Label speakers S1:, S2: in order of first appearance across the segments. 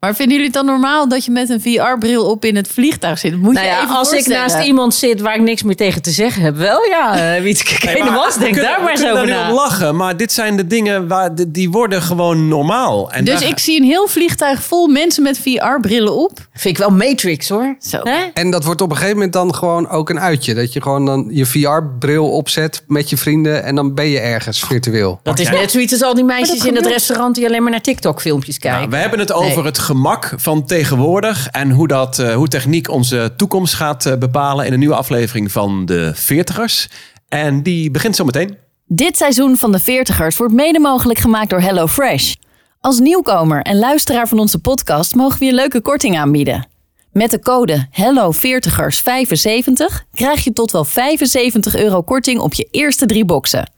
S1: Maar vinden jullie het dan normaal dat je met een VR-bril op in het vliegtuig zit? Moet
S2: Nou
S1: je
S2: ja,
S1: even
S2: als ik
S1: voorstellen.
S2: naast iemand zit waar ik niks meer tegen te zeggen heb, wel ja. eh, Wie het
S3: Nee,
S2: nee,
S3: maar
S2: was,
S3: we
S2: denk
S3: kunnen-
S2: daar
S3: we
S2: maar eens
S3: kunnen
S2: over
S3: daar
S2: na.
S3: nu om lachen, maar dit zijn de dingen waar, die- die worden gewoon normaal. En
S1: Dus
S3: daar-
S1: ik zie een heel vliegtuig vol mensen met VR-brillen op.
S2: Vind ik wel Matrix hoor.
S1: Zo.
S2: Hè?
S4: En dat wordt op een gegeven moment dan gewoon ook een uitje. Dat je gewoon dan je VR-bril opzet met je vrienden en dan ben je ergens virtueel.
S2: Dat is
S3: jij-
S2: net zoiets als al die meisjes in het
S1: gebeurt.
S2: restaurant die alleen maar naar TikTok-filmpjes kijken.
S3: Nou, we hebben het over
S2: Nee.
S3: het gemak van tegenwoordig en hoe, dat, eh, hoe techniek onze toekomst gaat eh, bepalen in een nieuwe aflevering van de Veertigers. En die begint zometeen.
S5: Dit seizoen van de 40ers wordt mede mogelijk gemaakt door HelloFresh. Als nieuwkomer en luisteraar van onze podcast mogen we je leuke korting aanbieden. Met de code HELLO40ers75 krijg je tot wel 75 euro korting op je eerste drie boxen.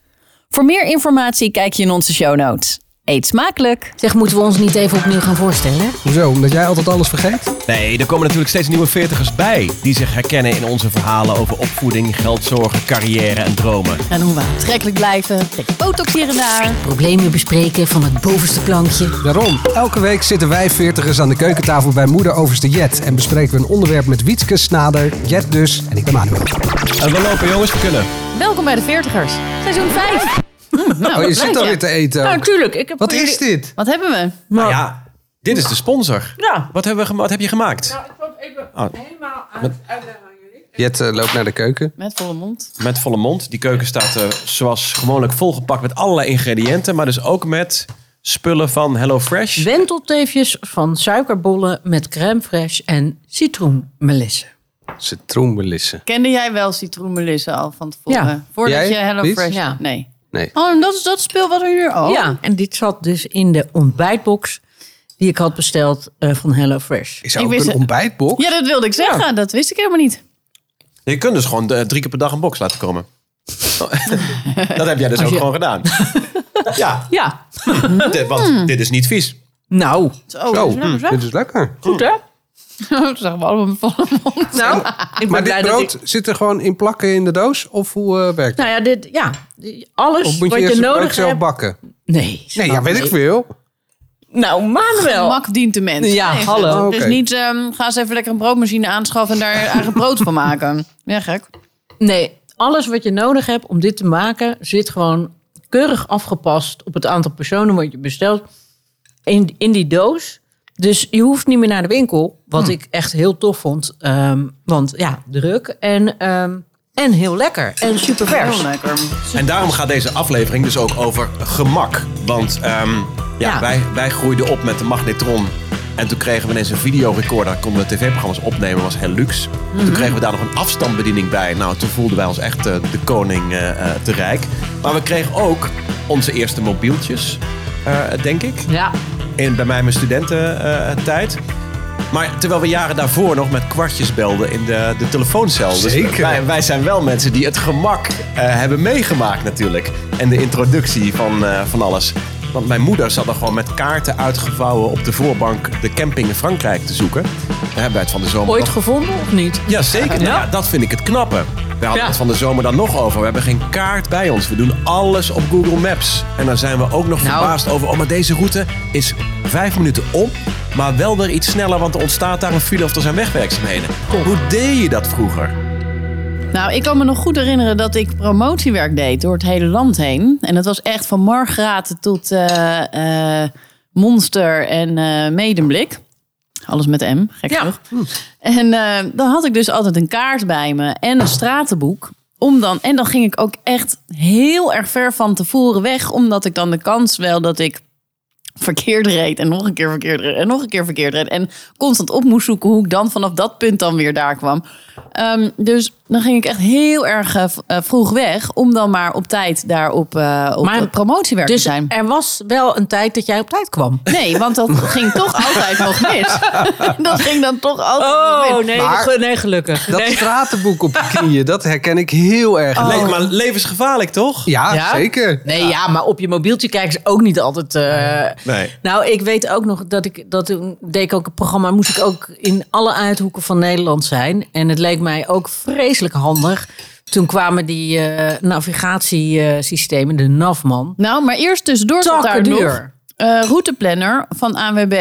S5: Voor meer informatie kijk je in onze show notes. Eet smakelijk!
S2: Zeg, moeten we ons niet even opnieuw gaan voorstellen?
S4: Hoezo? Omdat jij altijd alles vergeet?
S3: Nee, er komen natuurlijk steeds nieuwe veertigers bij die zich herkennen in onze verhalen over opvoeding, geldzorgen, carrière en dromen.
S5: En hoe we aantrekkelijk blijven, beetje botox hier en daar.
S2: Problemen bespreken van het bovenste plankje.
S4: Daarom, elke week zitten wij veertigers aan de keukentafel bij moeder overste Jet. En bespreken we een onderwerp met Wietke Snader, Jet dus en ik ben Manuel.
S3: En we lopen jongens, we kunnen.
S1: Welkom bij de 40ers. Seizoen 5.
S4: oh, je zit alweer te eten. ook.
S2: Nou, tuurlijk. Ik heb
S4: Wat
S2: voor
S4: is
S2: jullie-
S4: dit?
S1: Wat hebben we?
S3: Nou ja, dit is de sponsor.
S2: Ja.
S3: Wat, hebben we, gema- wat heb je gemaakt?
S4: Jet eh, loopt naar de keuken.
S1: Met volle mond.
S3: Met volle mond. Die keuken staat eh, zoals gewoonlijk volgepakt met allerlei ingrediënten. Maar dus ook met spullen van HelloFresh.
S2: Wentelteefjes van suikerbollen met crème fraîche en citroenmelissen.
S4: Citroenmelissen.
S1: Kende jij wel citroenmelissen al van tevoren?
S2: Ja.
S1: Voordat
S4: Jij?
S1: je Hello
S4: Niet?
S1: Fresh...
S2: Ja.
S1: Nee.
S4: Nee.
S1: Oh, en dat is dat speel wat er hier... Oh.
S2: Ja, en dit zat dus in de ontbijtbox die ik had besteld eh, van HelloFresh.
S4: Is
S1: Ik
S4: er ook
S1: wist
S4: een
S1: het.
S4: ontbijtbox?
S1: Ja, dat wilde ik zeggen. Dat wist ik helemaal niet.
S3: Je kunt dus gewoon eh, drie keer per dag een box laten komen. Oh. dat heb jij dus ook gewoon gedaan. ja,
S2: Ja,
S3: dit- want dit is niet vies.
S2: nou,
S1: Zo,
S4: Zo,
S1: dat is lekker, zeg.
S4: dit is lekker.
S2: goed hè?
S1: Dat zeggen we allemaal met volle mond.
S2: Nou, ik ben
S4: Maar
S2: blij
S4: dit
S2: dat
S4: brood
S2: ik-
S4: zit er gewoon in plakken in de doos? Of hoe eh, werkt het?
S2: Nou ja, dit, ja, die- alles
S4: Of moet
S2: wat
S4: Nou, dus
S2: je,
S4: je eerst het brood
S2: nodig
S4: zelf
S2: hebt.
S4: bakken?
S2: Nee,
S4: Nee, ja,
S2: schat,
S4: weet
S2: nee.
S4: ik veel.
S2: Nou, Manuel.
S1: Gemak dient de mens.
S2: Ja, hallo.
S1: Het is
S4: Oh, Oké.
S1: niet, ehm, ga eens even lekker een broodmachine aanschaffen en daar eigen brood van maken. Ja, gek.
S2: Nee, alles wat je nodig hebt om dit te maken zit gewoon keurig afgepast op het aantal personen wat je bestelt in, in die doos. Dus je hoeft niet meer naar de winkel, wat
S4: Hm.
S2: ik echt heel tof vond. Ehm, want ja, druk en, ehm, en heel lekker en super vers.
S1: Heel lekker.
S3: En daarom gaat deze aflevering dus ook over gemak. Want ehm, ja,
S2: Ja.
S3: Wij, wij groeiden op met de magnetron. En toen kregen we ineens een videorecorder. Konden we tv-programma's opnemen. was heel luxe. Toen kregen we daar nog een afstandsbediening bij. Nou, toen voelden wij ons echt eh, de koning eh, eh, te rijk. Maar we kregen ook onze eerste mobieltjes. eh, denk ik.
S2: Ja,
S3: In, bij mij mijn studententijd. Maar terwijl we jaren daarvoor nog met kwartjes belden in de, de telefooncel. Dus
S4: Zeker.
S3: wij, wij zijn wel mensen die het gemak eh, hebben meegemaakt natuurlijk. En de introductie van, eh, van alles. Want mijn moeder zat er gewoon met kaarten uitgevouwen op de voorbank de camping in Frankrijk te zoeken. Daar hebben wij het van de zomer
S2: ooit
S3: nog-
S2: gevonden of niet?
S3: ja, zeker. Nou ja, dat vind ik het knappe. We hadden
S2: Ja.
S3: het van de zomer dan nog over. We hebben geen kaart bij ons. We doen alles op Google Maps. En dan zijn we ook nog verbaasd over... oh, maar deze route is vijf minuten om... maar wel weer iets sneller, want er ontstaat daar een file... of er zijn wegwerkzaamheden. Hoe deed je dat vroeger?
S1: Nou, ik kan me nog goed herinneren dat ik promotiewerk deed door het hele land heen. En dat was echt van Margraten tot eh, eh, Monster en eh Medemblik. Alles met M, gek
S2: Ja.
S1: genoeg. En eh, dan had ik dus altijd een kaart bij me en een stratenboek. Om dan, en dan ging ik ook echt heel erg ver van tevoren weg. Omdat ik dan de kans wel dat ik verkeerd reed. En nog een keer verkeerd reed. En nog een keer verkeerd reed. En constant op moest zoeken hoe ik dan vanaf dat punt dan weer daar kwam. Ehm, dus dan ging ik echt heel erg eh, v- eh, vroeg weg. Om dan maar op tijd daar op, eh, op
S2: Maar-
S1: het promotiewerk
S2: Dus
S1: te zijn.
S2: er was wel een tijd dat jij op tijd kwam.
S1: Nee, want dat ging toch altijd nog mis. dat ging dan toch altijd nog mis.
S2: Oh, nee,
S4: Maar-
S2: ge- nee, gelukkig.
S4: Dat stratenboek op je knieën, dat herken ik heel erg.
S3: Le- maar levensgevaarlijk, toch?
S4: Ja,
S2: Ja?
S4: zeker.
S2: Nee, ja. maar op je mobieltje kijken is ook niet altijd. eh,
S3: Nee.
S2: Nou, ik weet ook nog dat ik dat toen deed ik ook een programma. Moest ik ook in alle uithoeken van Nederland zijn. En het leek mij ook vreselijk handig. Toen kwamen die eh, navigatiesystemen, de Navman.
S1: Nou, maar eerst tussendoor zat daar nog
S2: Takkenduur.
S1: eh, routeplanner van ANWB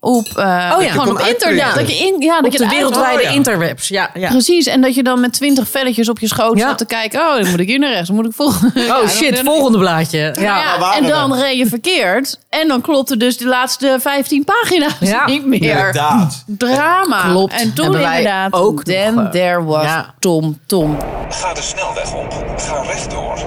S1: op, eh,
S2: Oh ja.
S1: gewoon
S3: kon
S1: op internet.
S3: uitprinteren.
S1: Dat je in, ja,
S2: Op
S1: dat je
S2: de
S1: het uit-
S2: wereldwijde
S1: Oh, ja.
S2: interwebs. Ja, ja.
S1: Precies, en dat je dan met twintig velletjes op je schoot
S2: Ja.
S1: zat te kijken. Oh, dan moet ik hier naar rechts, dan moet ik volgen.
S2: Oh shit, volgende blaadje. Ja.
S1: Ja,
S3: waar
S1: en
S3: we
S1: dan reed je verkeerd. En dan klopte dus de laatste 15 pagina's
S2: Ja.
S1: niet meer.
S3: Inderdaad.
S1: Drama.
S2: Klopt.
S1: En toen
S2: Hebben wij
S1: inderdaad
S2: ook
S1: Then
S2: nog, eh,
S1: there was
S2: ja.
S1: Tom Tom.
S6: Ga de snelweg op. Ga rechtdoor.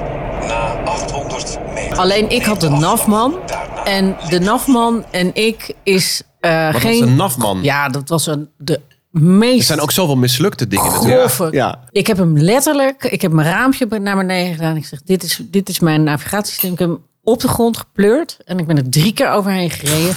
S6: Na 800 meter.
S2: Alleen ik had de
S6: Neem de
S2: NAFMAN.
S6: afslag. Daarna
S2: En de NAFMAN en ik is eh,
S3: Wat
S2: geen...
S3: was een nafman?
S2: Ja, dat was een, de
S3: Er
S2: meest
S3: zijn ook zoveel mislukte dingen natuurlijk.
S2: grove.
S3: Ja.
S2: Ik heb hem letterlijk, ik heb mijn raampje naar beneden gedaan. Ik zeg, dit is, dit is mijn navigatiesysteem. Ik heb hem op de grond gepleurd en ik ben er drie keer overheen gereden.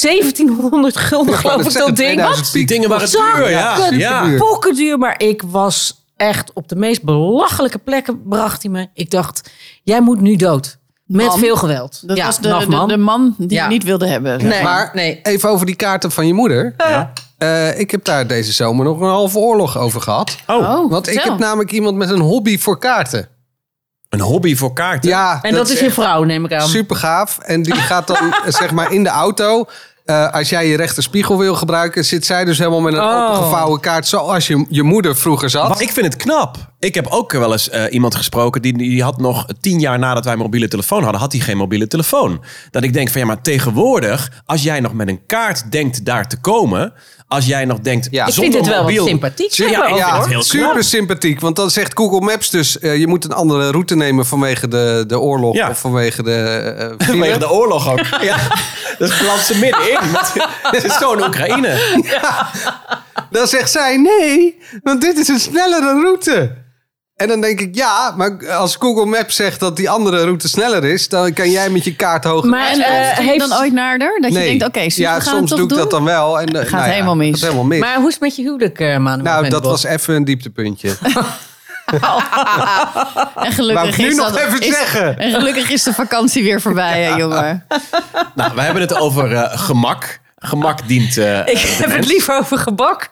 S2: 1700 gulden geloof ik dat ding. Wat?
S3: Die dingen waren
S2: Zo,
S3: duur, ja.
S2: kut.
S3: ja.
S2: Pokken duur, maar ik was echt op de meest belachelijke plekken bracht hij me. Ik dacht, jij moet nu dood. Met
S1: Man.
S2: veel geweld.
S1: Dat
S2: ja,
S1: was de,
S2: nog
S1: de,
S2: man.
S1: de man die
S2: Ja.
S1: je niet wilde hebben.
S2: nee,
S4: Maar-
S2: nee.
S4: Even over die kaarten van je moeder. Eh, ik heb daar deze zomer nog een halve oorlog over gehad.
S3: Oh,
S4: Want ik
S1: vertel.
S4: heb namelijk iemand met een hobby voor kaarten.
S3: een hobby voor kaarten.
S4: Ja,
S2: En dat, is je vrouw, neem ik aan.
S4: super gaaf. En die gaat dan eh, zeg maar in de auto. eh, als jij je rechter spiegel wil gebruiken, zit zij dus helemaal met een
S2: Oh.
S4: opengevouwen kaart. Zoals je, je moeder vroeger zat.
S3: Maar ik vind het knap. Ik heb ook wel eens eh, iemand gesproken die, die had nog tien jaar nadat wij mobiele telefoon hadden, had hij geen mobiele telefoon. Dat ik denk van ja, maar tegenwoordig, als jij nog met een kaart denkt daar te komen, als jij nog denkt,
S4: Ja.
S2: ik vind
S4: Ik
S3: zonder
S2: het wel wat
S3: mobiel,
S2: sympathiek.
S3: Ja,
S2: hebben
S3: ik
S2: ook,
S3: vind
S2: hoor.
S3: het heel knap.
S4: super sympathiek. Want dan zegt Google Maps dus... eh, je moet een andere route nemen vanwege de, de oorlog
S3: Ja.
S4: of vanwege de... eh,
S3: Vanwege
S4: virus.
S3: de oorlog ook. Ja, dat plant ze middenin. Het is gewoon Oekraïne.
S4: Dan zegt zij, nee, want dit is een snellere route. En dan denk ik, ja, maar als Google Maps zegt dat die andere route sneller is... dan kan jij met je kaart hoger...
S1: Maar en,
S2: Maar, eh,
S1: eh, ging je
S2: heeft-
S1: dan ooit naar haar? Dat je
S4: Nee.
S1: denkt, oké, Suus,
S4: ja,
S1: we gaan
S4: soms
S1: het toch
S4: doe ik
S1: doen?
S4: dat dan wel. En, eh, nou
S1: gaat
S4: ja,
S1: helemaal mis.
S4: Gaat helemaal mis.
S2: Maar hoe is het met je huwelijk, eh, Manu?
S4: nou, dat
S2: Venderbos?
S4: was even een dieptepuntje.
S1: En
S4: Wou
S1: gelukkig
S4: ik nu
S1: is
S4: nog
S1: dat-
S4: even
S1: is-
S4: zeggen.
S1: En gelukkig is de vakantie weer voorbij, hè, jongen.
S3: Nou, we hebben het over eh, gemak. Gemak dient. eh,
S2: Ik
S3: de
S2: heb het
S3: mens.
S2: liever over gebak,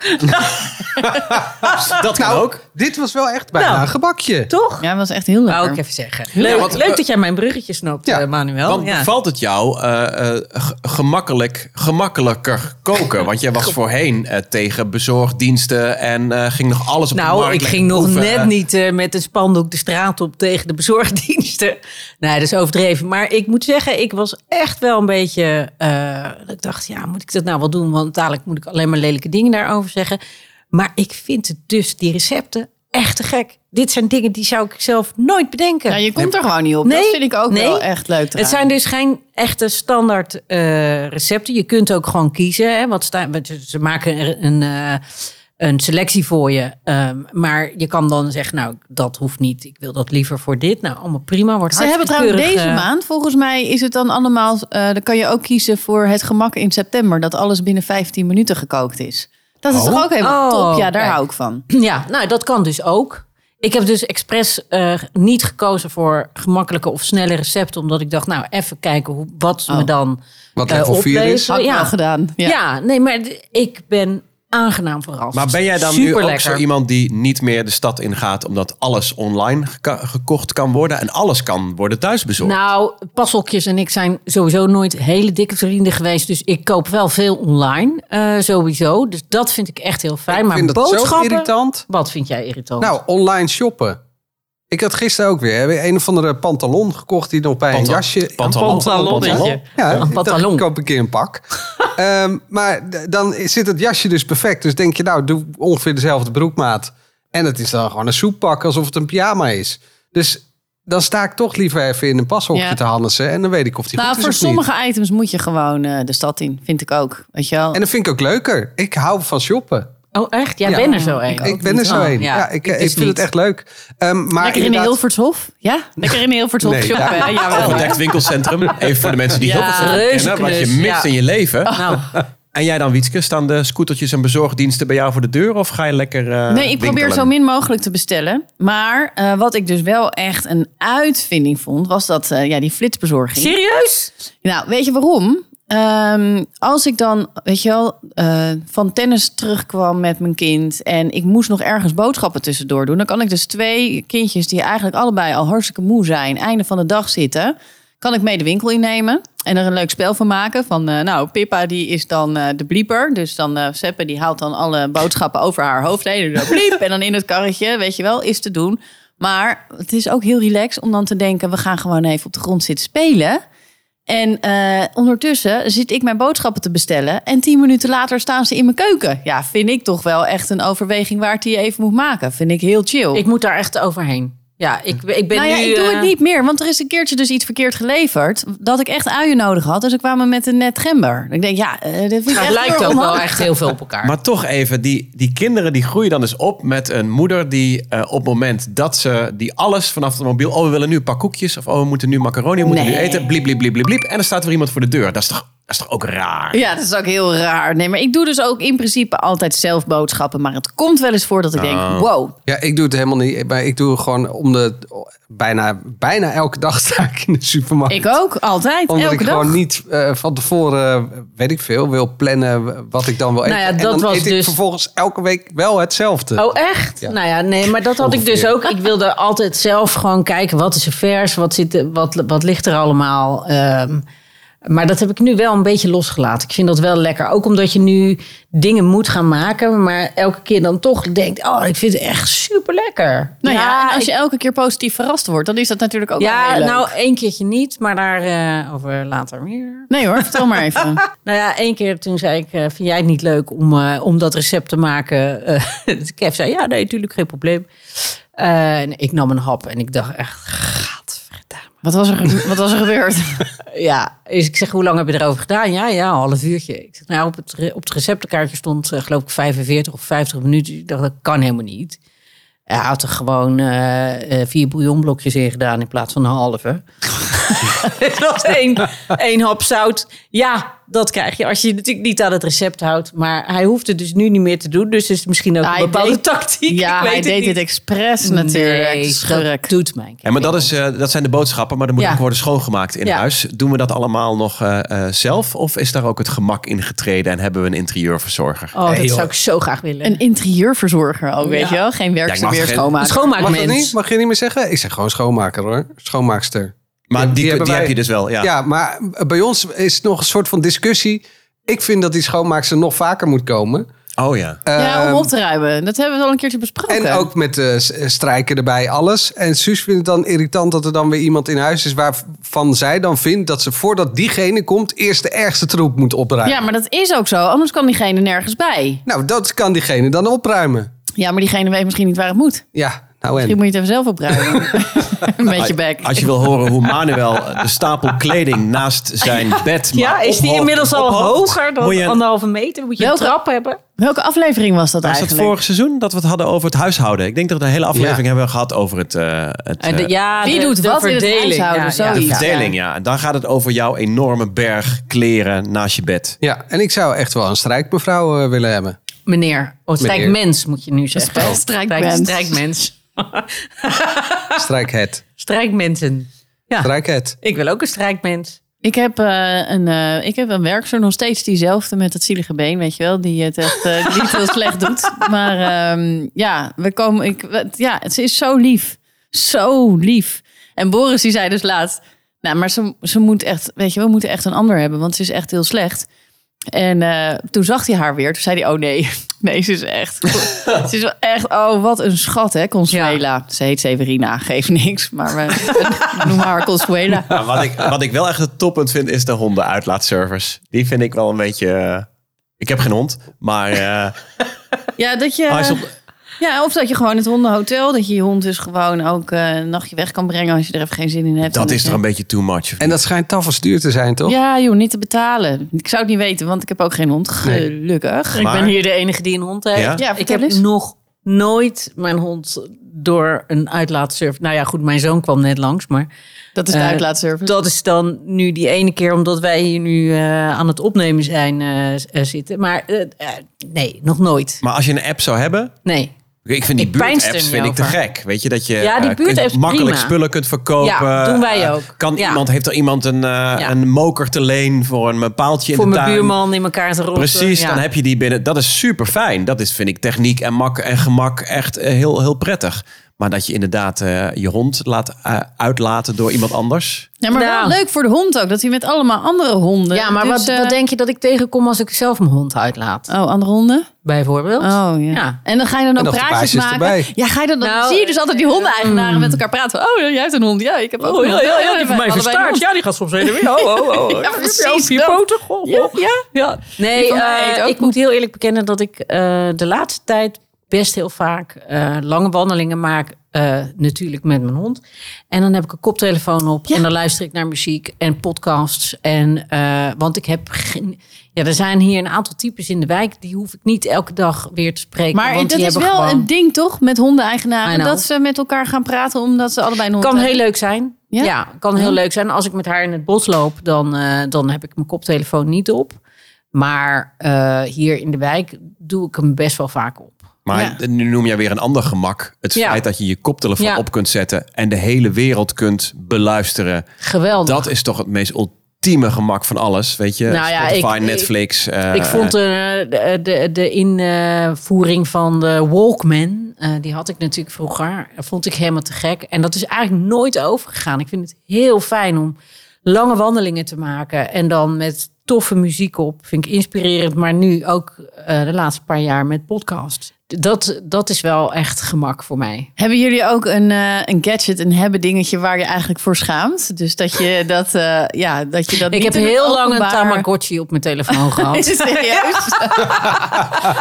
S3: Dat kan
S4: nou,
S3: ook.
S4: dit was wel echt bijna
S2: Nou.
S4: een gebakje.
S2: toch?
S1: Ja, dat was echt heel leuk.
S2: Wou ik even zeggen. Leuk,
S3: want-
S2: leuk dat jij mijn bruggetje snoopt,
S4: Ja,
S2: eh, Manuel.
S3: Want
S2: ja.
S3: bevalt het jou eh, eh, g- gemakkelijk, gemakkelijker koken? Want jij was voorheen eh, tegen bezorgdiensten en eh, ging nog alles op de markt.
S2: Nou, ik
S3: lekker
S2: ging nog
S3: proeven.
S2: net niet eh, met een spandoek de straat op tegen de bezorgdiensten. Nee, dat is overdreven. Maar ik moet zeggen, ik was echt wel een beetje... eh, dat ik dacht, ja, moet ik dat nou wel doen? Want dadelijk moet ik alleen maar lelijke dingen daarover zeggen. Maar ik vind het dus, die recepten, echt te gek. Dit zijn dingen die zou ik zelf nooit bedenken.
S1: Ja, je komt er gewoon niet op.
S2: Nee,
S1: dat vind ik ook
S2: nee.
S1: wel echt leuk.
S2: Het zijn dus geen echte standaard eh, recepten. Je kunt ook gewoon kiezen. Hè, wat sta, wat- ze maken er een, eh, een selectie voor je. Ehm, maar je kan dan zeggen, nou, dat hoeft niet. Ik wil dat liever voor dit. Nou, allemaal prima. Wordt
S1: Ze hebben
S2: hartstikke
S1: trouwens deze
S2: keurig, eh,
S1: maand, volgens mij is het dan allemaal... eh, dan kan je ook kiezen voor het gemak in september. Dat alles binnen 15 minuten gekookt is. Dat is toch ook helemaal
S2: Oh,
S1: top? Ja, daar
S2: kijk.
S1: hou ik van.
S2: Ja, nou, dat kan dus ook. Ik heb dus expres eh, niet gekozen voor gemakkelijke of snelle recepten. Omdat ik dacht, nou, even kijken hoe, wat ze me
S1: Oh.
S2: dan
S4: Wat
S2: eh,
S4: level vier is.
S2: opleveren.
S1: Had ik
S2: Ja.
S1: wel gedaan. Ja.
S2: Ja. nee, maar d- ik ben aangenaam verrast.
S3: Maar ben jij dan nu ook
S2: Superlekker.
S3: zo iemand die niet meer de stad ingaat... omdat alles online geka- gekocht kan worden en alles kan worden thuisbezorgd?
S2: Nou, Pasolkjes en ik zijn sowieso nooit hele dikke vrienden geweest. Dus ik koop wel veel online, eh, sowieso. Dus dat vind ik echt heel fijn.
S4: Ik
S2: maar
S4: vind dat zo
S2: boodschappen...
S4: irritant.
S2: Wat vind jij irritant?
S4: Nou, online shoppen. Ik had gisteren ook weer, hè, weer een of andere pantalon gekocht die nog bij
S3: Pantal-
S4: een jasje.
S3: pantalon.
S2: Pantalonnetje.
S3: Pantalon.
S4: Ja, ik dacht,
S2: pantalon.
S4: ik koop een keer een pak. Ehm, maar d- dan zit het jasje dus perfect. Dus denk je, nou, doe ongeveer dezelfde broekmaat. En het is dan gewoon een soeppak, alsof het een pyjama is. Dus dan sta ik toch liever even in een pashokje
S1: Ja.
S4: te hannissen. En dan weet ik of die
S1: Nou,
S4: goed is
S1: voor
S4: of niet.
S1: sommige items moet je gewoon eh, de stad in. Vind ik ook. Weet je wel?
S4: En dat vind ik ook leuker. Ik hou van shoppen.
S2: oh, echt? Jij
S4: Ja.
S2: bent er zo een.
S4: ik ben er zo
S2: Oh,
S4: een. Ja, ik,
S2: is
S4: eh, ik vind
S2: niet.
S4: het echt leuk. Ehm, maar
S1: Lekker in de
S4: inderdaad-
S1: Hilvershof? Ja? Lekker in de Hilvershof
S4: Nee, Eh,
S1: shoppen.
S4: daar-
S1: hè? Jawel.
S3: Overdekt winkelcentrum. Even voor de mensen die
S1: Ja,
S3: heel veel van
S2: reuze
S3: kennen. Wat je
S2: klus,
S3: mist
S2: ja.
S3: in je leven.
S2: Nou,
S3: En jij dan, Wietske? Staan de scootertjes en bezorgdiensten bij jou voor de deur? Of ga je lekker eh,
S1: Nee, ik probeer
S3: winkelen?
S1: zo min mogelijk te bestellen. Maar eh, wat ik dus wel echt een uitvinding vond, was dat eh, ja, die flitsbezorging.
S2: serieus?
S1: Nou, weet je waarom? Ehm, als ik dan, weet je wel, eh, van tennis terugkwam met mijn kind en ik moest nog ergens boodschappen tussendoor doen, dan kan ik dus twee kindjes die eigenlijk allebei al hartstikke moe zijn, einde van de dag zitten, Kan ik mee de winkel innemen en er een leuk spel van maken. Van, eh, nou, Pippa die is dan eh, de blieper. Dus dan eh Seppe die haalt dan alle boodschappen over haar hoofd heen. En dan bliep en dan in het karretje, weet je wel, is te doen. Maar het is ook heel relaxed om dan te denken... we gaan gewoon even op de grond zitten spelen... En eh, ondertussen zit ik mijn boodschappen te bestellen. En tien minuten later staan ze in mijn keuken. Ja, vind ik toch wel echt een overweging waard die je even moet maken. Vind ik heel chill.
S2: Ik moet daar echt overheen. Ja, ik, ik ben
S1: nou ja,
S2: nu...
S1: ik doe
S2: eh,
S1: het niet meer. Want er is een keertje dus iets verkeerd geleverd. Dat ik echt uien nodig had. Dus ik kwam met een net gember. Ik denk, ja, eh, dat vind ik
S2: Nou, Het
S1: echt
S2: lijkt
S1: heel
S2: ook wel
S1: onhandig.
S2: echt heel veel op elkaar.
S3: Maar toch even, die, die kinderen die groeien dan dus op met een moeder die eh, op het moment dat ze die alles vanaf de mobiel... Oh, we willen nu een paar koekjes of oh, we moeten nu macaroni, we moeten nu
S1: Nee.
S3: eten. Bliep, bliep, bliep, bliep, bliep. En dan staat er iemand voor de deur. Dat is toch, dat is toch ook raar?
S1: Ja, dat is ook heel raar. Nee, maar ik doe dus ook in principe altijd zelf boodschappen. Maar het komt wel eens voor dat ik denk,
S4: Ah.
S1: wow.
S4: Ja, ik doe het helemaal niet. Maar ik doe gewoon om de... Bijna, bijna elke dag sta ik in de supermarkt.
S1: Ik ook, altijd,
S4: Omdat
S1: elke
S4: ik
S1: dag.
S4: gewoon niet eh, van tevoren, eh, weet ik veel, wil plannen wat ik dan wil
S2: Nou
S4: eten.
S2: ja,
S4: en
S2: dat
S4: dan
S2: was
S4: eet ik
S2: dus-
S4: vervolgens elke week wel hetzelfde.
S2: Oh, echt?
S4: Ja.
S2: Nou ja, nee, maar dat had ik dus ook. Ik wilde altijd zelf gewoon kijken wat is er vers, wat, zit, er- wat, wat ligt er allemaal. Ehm, maar dat heb ik nu wel een beetje losgelaten. Ik vind dat wel lekker. Ook omdat je nu dingen moet gaan maken, maar elke keer dan toch denkt: Oh, ik vind het echt super lekker.
S1: Nou ja, en als je elke keer positief verrast wordt, dan is dat natuurlijk ook wel
S2: ja,
S1: heel leuk.
S2: nou één keertje niet, maar daar eh, over later meer.
S1: Nee hoor, vertel maar even.
S2: Nou ja, één keer toen zei ik, eh, vind jij het niet leuk om, eh, om dat recept te maken? Eh, Kev zei, ja, nee, natuurlijk, geen probleem. Eh, en ik nam een hap en ik dacht echt, gadverdamme.
S1: Wat was er, wat was er gebeurd?
S2: Ja, dus ik zeg, hoe lang heb je erover gedaan? Ja, ja, een half uurtje. Ik zeg, nou, op het, re- op het receptenkaartje stond, eh, geloof ik, 45 of 50 minuten. Ik dacht, dat kan helemaal niet. Hij had er gewoon eh, eh, vier bouillonblokjes in gedaan in plaats van een halve. Het was één, één hap zout. Ja, dat krijg je als je je natuurlijk niet aan het recept houdt. Maar hij hoeft het dus nu niet meer te doen. Dus is het misschien ook
S1: Nou, Hij
S2: een bepaalde
S1: deed-
S2: tactiek.
S1: Ja,
S2: Ik weet
S1: hij deed
S2: niet.
S1: dit expres natuurlijk.
S2: Nee, dat
S1: Schurk.
S2: doet mijn kind.
S3: En maar dat, is, eh, dat zijn de boodschappen, maar er moet
S2: Ja.
S3: ook worden schoongemaakt in
S2: Ja.
S3: huis. Doen we dat allemaal nog eh, eh, zelf? Of is daar ook het gemak in getreden en hebben we een interieurverzorger?
S2: Oh,
S4: Nee,
S2: dat
S4: joh.
S2: zou ik zo graag willen.
S1: Een interieurverzorger ook, weet
S2: Ja.
S1: je wel? Geen werkster
S3: mag
S1: meer
S3: geen-
S1: schoonmaken.
S4: Mag
S2: schoonmaakmens.
S4: dat niet? Mag je niet meer zeggen? Ik zeg gewoon schoonmaker hoor. Schoonmaakster.
S3: Maar die, die,
S4: hebben wij-
S3: heb je dus wel, ja.
S4: Ja, maar eh, bij ons is nog een soort van discussie. Ik vind dat die schoonmaakster nog vaker moet komen.
S3: Oh ja.
S1: ja,
S4: Ehm,
S1: om op te ruimen. Dat hebben we al een keertje besproken.
S4: En ook met eh, s- eh, strijken erbij, alles. En Suus vindt het dan irritant dat er dan weer iemand in huis is... waarvan zij dan vindt dat ze voordat diegene komt... eerst de ergste troep moet opruimen.
S1: Ja, maar dat is ook zo. Anders kan diegene nergens bij.
S4: Nou, dat kan diegene dan opruimen.
S1: Ja, maar diegene weet misschien niet waar het moet.
S4: Ja, nou
S1: Misschien
S4: en?
S1: moet je het even zelf opruimen. Met je bek.
S3: Als je wil horen hoe Manuel de stapel kleding naast zijn bed... maar
S2: Ja, is die
S3: ophoogt-
S2: inmiddels al
S3: ophoogt,
S2: hoger dan
S3: moet je-
S2: anderhalve meter? Moet je een
S1: Welke-
S2: trap hebben?
S1: Welke aflevering was dat
S3: Was dat
S1: eigenlijk?
S3: vorig seizoen dat we het hadden over het huishouden? Ik denk dat we een hele aflevering
S4: Ja.
S3: hebben gehad over het, eh, het, eh,
S2: ja,
S1: Wie doet wat in het huishouden?
S3: de
S1: Zoiets.
S3: verdeling. Ja. En dan gaat het over jouw enorme berg kleren naast je bed.
S4: Ja, en ik zou echt wel een strijkmevrouw eh, willen hebben.
S2: Meneer. Oh, strijkmens moet je nu zeggen.
S1: Strijk- strijkmens.
S2: Strijkmens.
S4: Strijkhet.
S2: Strijkmensen. Ja.
S4: Strijkhet.
S2: Ik wil ook een strijkmens.
S1: Ik heb, eh, een, eh, ik heb een werkster, nog steeds diezelfde met het zielige been, weet je wel. Die het echt eh, niet heel slecht doet. Maar ehm, ja, we komen, ik, we- ja, ze is zo lief. Zo lief. En Boris die zei dus laatst, nou, maar ze, ze moet echt, weet je, we moeten echt een ander hebben, want ze is echt heel slecht. En eh, toen zag hij haar weer. Toen zei hij, oh nee, nee, ze is echt... ze is wel echt, oh wat een schat hè, Consuela. Ze heet Severina, geeft niks. Maar we, we noemen haar Consuela.
S3: Maar wat, ik, wat ik wel echt het toppunt vind, is de hondenuitlaatservice. Die vind ik wel een beetje... eh, ik heb geen hond, maar eh,
S1: Ja, dat je...
S3: hij Ah, is op-
S1: Ja, of dat je gewoon het hondenhotel, dat je je hond dus gewoon ook eh, een nachtje weg kan brengen als je er even geen zin in hebt.
S3: dat
S1: En
S3: is
S1: je-
S3: er een beetje too much.
S4: En dat schijnt tafels duur te zijn, toch?
S1: Ja, joh, niet te betalen. Ik zou het niet weten, want ik heb ook geen hond, gelukkig.
S3: Maar-
S2: Ik ben hier de enige die een hond heeft.
S3: Ja?
S1: Ja,
S2: ik
S1: vertel
S2: heb
S1: eens.
S2: nog nooit mijn hond door een uitlaatservice... Nou ja, goed, mijn zoon kwam net langs, maar...
S1: Dat is de
S2: Eh,
S1: uitlaatservice.
S2: Dat is dan nu die ene keer, omdat wij hier nu eh, aan het opnemen zijn eh, s- eh, zitten. Maar eh, eh, nee, nog nooit.
S3: Maar als je een app zou hebben,
S2: Nee.
S3: Ik vind die
S2: Ik pijnst er
S3: buurtapps
S2: niet
S3: vind ik te
S2: over.
S3: gek. Weet je dat je
S2: Ja, die
S3: eh,
S2: buurtapps,
S3: makkelijk
S2: prima.
S3: spullen kunt verkopen.
S2: Ja, doen wij
S3: Eh,
S2: ook.
S3: Kan
S2: Ja.
S3: iemand, heeft er iemand een, eh, een moker te leen voor een paaltje
S2: Voor
S3: in de tuin?
S2: mijn buurman in elkaar te rotten.
S3: Precies,
S2: Ja.
S3: dan heb je die binnen. Dat is super fijn. Dat is, vind ik, techniek en mak en gemak echt eh, heel, heel prettig. Maar dat je inderdaad eh, je hond laat eh, uitlaten door iemand anders.
S1: Ja, maar
S2: Ja.
S1: wel leuk voor de hond ook. Dat hij met allemaal andere honden...
S2: Ja, maar
S1: dus,
S2: wat,
S1: eh,
S2: wat denk je dat ik tegenkom als ik zelf mijn hond uitlaat?
S1: Oh, andere honden?
S2: Bijvoorbeeld.
S1: Oh ja.
S2: Ja.
S1: En dan ga je dan
S4: En
S1: ook
S4: nog de
S1: praatjes
S4: baasjes
S1: maken.
S4: erbij.
S1: Ja, ga je dan, dan
S2: Nou,
S1: zie je dus altijd die hondeneigenaren met elkaar praten. Oh, jij hebt een hond. Oh, Ja, ik heb
S2: Oh,
S1: ook een hond. Allebei- allebei een hond.
S2: Ja, die gaat soms heen en weer. Oh, oh, oh.
S1: Ja, precies.
S2: vier
S1: dat.
S2: poten. Goh,
S1: Ja,
S2: goh.
S1: ja, ja. Die
S2: Nee,
S1: van mij
S2: eh,
S1: eet ook
S2: ik moet heel eerlijk bekennen dat ik eh, de laatste tijd best heel vaak eh, lange wandelingen maak. eh, natuurlijk met mijn hond. En dan heb ik een koptelefoon op. En dan luister ik naar muziek en podcasts. En, eh, want ik heb geen... Ja, er zijn hier een aantal types in de wijk. Die hoef ik niet elke dag weer te spreken.
S1: Maar
S2: want
S1: dat
S2: die
S1: is wel
S2: hebben gewoon...
S1: een ding toch met
S2: I
S1: hondeneigenaren.
S2: know.
S1: Dat ze met elkaar gaan praten omdat ze allebei een hond
S2: Kan
S1: hebben.
S2: heel leuk zijn.
S1: Ja?
S2: Ja, kan heel leuk zijn. Als ik met haar in het bos loop, dan, eh, dan heb ik mijn koptelefoon niet op. Maar eh, hier in de wijk doe ik hem best wel vaak op.
S3: Maar nu noem jij weer een ander gemak. Het
S2: Ja.
S3: feit dat je je koptelefoon
S2: Ja.
S3: op kunt zetten en de hele wereld kunt beluisteren.
S2: Geweldig.
S3: Dat is toch het meest ultieme gemak van alles, weet je?
S2: Nou ja,
S3: Spotify,
S2: ik-
S3: Netflix. eh,
S2: ik vond eh, de, de, de invoering van de Walkman, eh, die had ik natuurlijk vroeger, vond ik helemaal te gek. En dat is eigenlijk nooit overgegaan. Ik vind het heel fijn om lange wandelingen te maken en dan met toffe muziek op. Vind ik inspirerend, maar nu ook eh, de laatste paar jaar met podcasts. Dat, dat is wel echt gemak voor mij.
S1: Hebben jullie ook een, eh, een gadget, een hebben dingetje waar je eigenlijk voor schaamt? Dus dat je dat, eh, ja, dat je dat
S2: Ik
S1: niet
S2: heb
S1: in het
S2: heel lang een
S1: openbaar-
S2: Tamagotchi op mijn telefoon
S1: Is
S2: gehad.
S1: het serieus?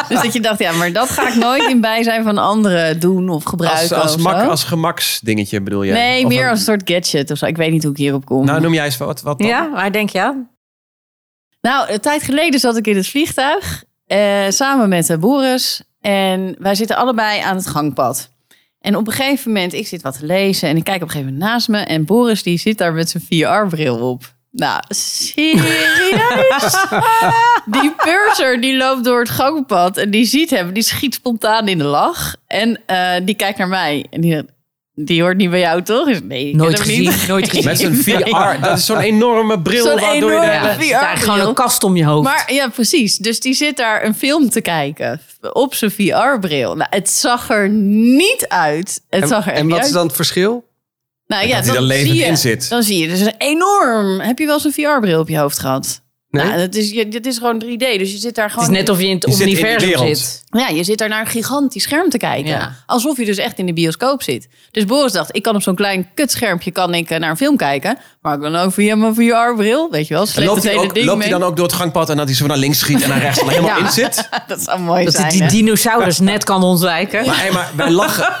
S1: dus dat je dacht, ja, maar dat ga ik nooit in bijzijn van anderen doen of
S3: als,
S1: gebruiken.
S3: eh, als,
S1: of
S3: mak,
S1: zo.
S3: als gemaksdingetje bedoel je?
S1: nee,
S3: Of
S1: meer
S3: een-
S1: als een soort gadget of zo. Ik weet niet hoe ik hierop kom.
S3: Nou, noem jij eens wat. wat dan?
S2: Ja, waar denk je aan?
S1: Nou, een tijd geleden zat ik in het vliegtuig eh, samen met eh, Boris. En wij zitten allebei aan het gangpad. En op een gegeven moment, ik zit wat te lezen en ik kijk op een gegeven moment naast me. En Boris die zit daar met zijn VR-bril op. Nou, serieus? die purser die loopt door het gangpad en die ziet hem. Die schiet spontaan in de lach. En eh, die kijkt naar mij. En die, zegt, die hoort niet bij jou, toch? Ik zeg, Nee, ik ken
S2: Nooit
S1: hem
S2: gezien,
S1: Niet.
S2: nooit gezien.
S3: Met zo'n VR. Dat is zo'n enorme bril
S1: Zo'n
S3: waardoor je de
S1: enorme-
S3: hele-
S2: Ja, er staat
S1: VR-bril.
S2: gewoon een kast om je hoofd.
S1: Maar ja, precies. Dus die zit daar een film te kijken op zijn VR-bril. Nou, het zag er niet uit. Het zag er echt
S4: En
S1: niet
S4: wat is
S1: uit.
S4: dan het verschil?
S1: Nou ja,
S3: Dat hij
S1: dan
S3: er levend
S1: zie je-
S3: in zit.
S1: Dan zie je dus een enorm. Heb je wel eens een VR-bril op je hoofd gehad?
S4: Nee.
S1: Nou, dat is, je- dit is gewoon 3D. Dus je zit daar
S2: Het
S1: gewoon.
S2: is net of je in het
S3: Je zit in die
S2: universum
S3: wereld.
S2: zit.
S1: Ja, je zit daar naar een gigantisch scherm te kijken.
S2: Ja.
S1: Alsof je dus echt in de bioscoop zit. Dus Boris dacht, ik kan op zo'n klein kutschermpje kan ik eh, naar een film kijken. Maar ik kan ook via mijn VR-bril. Weet je wel,
S3: En
S1: slecht
S3: loopt
S1: het
S3: hij,
S1: hele
S3: ook,
S1: ding
S3: loopt
S1: mee.
S3: hij dan ook door het gangpad en dat hij zo naar links schiet en naar rechts en er helemaal
S2: Ja.
S3: in zit?
S1: dat zou mooi
S2: Dat
S1: zijn.
S2: het die
S1: hè?
S2: dinosaurus net kan ontwijken.
S3: Maar, hey, maar wij lachen.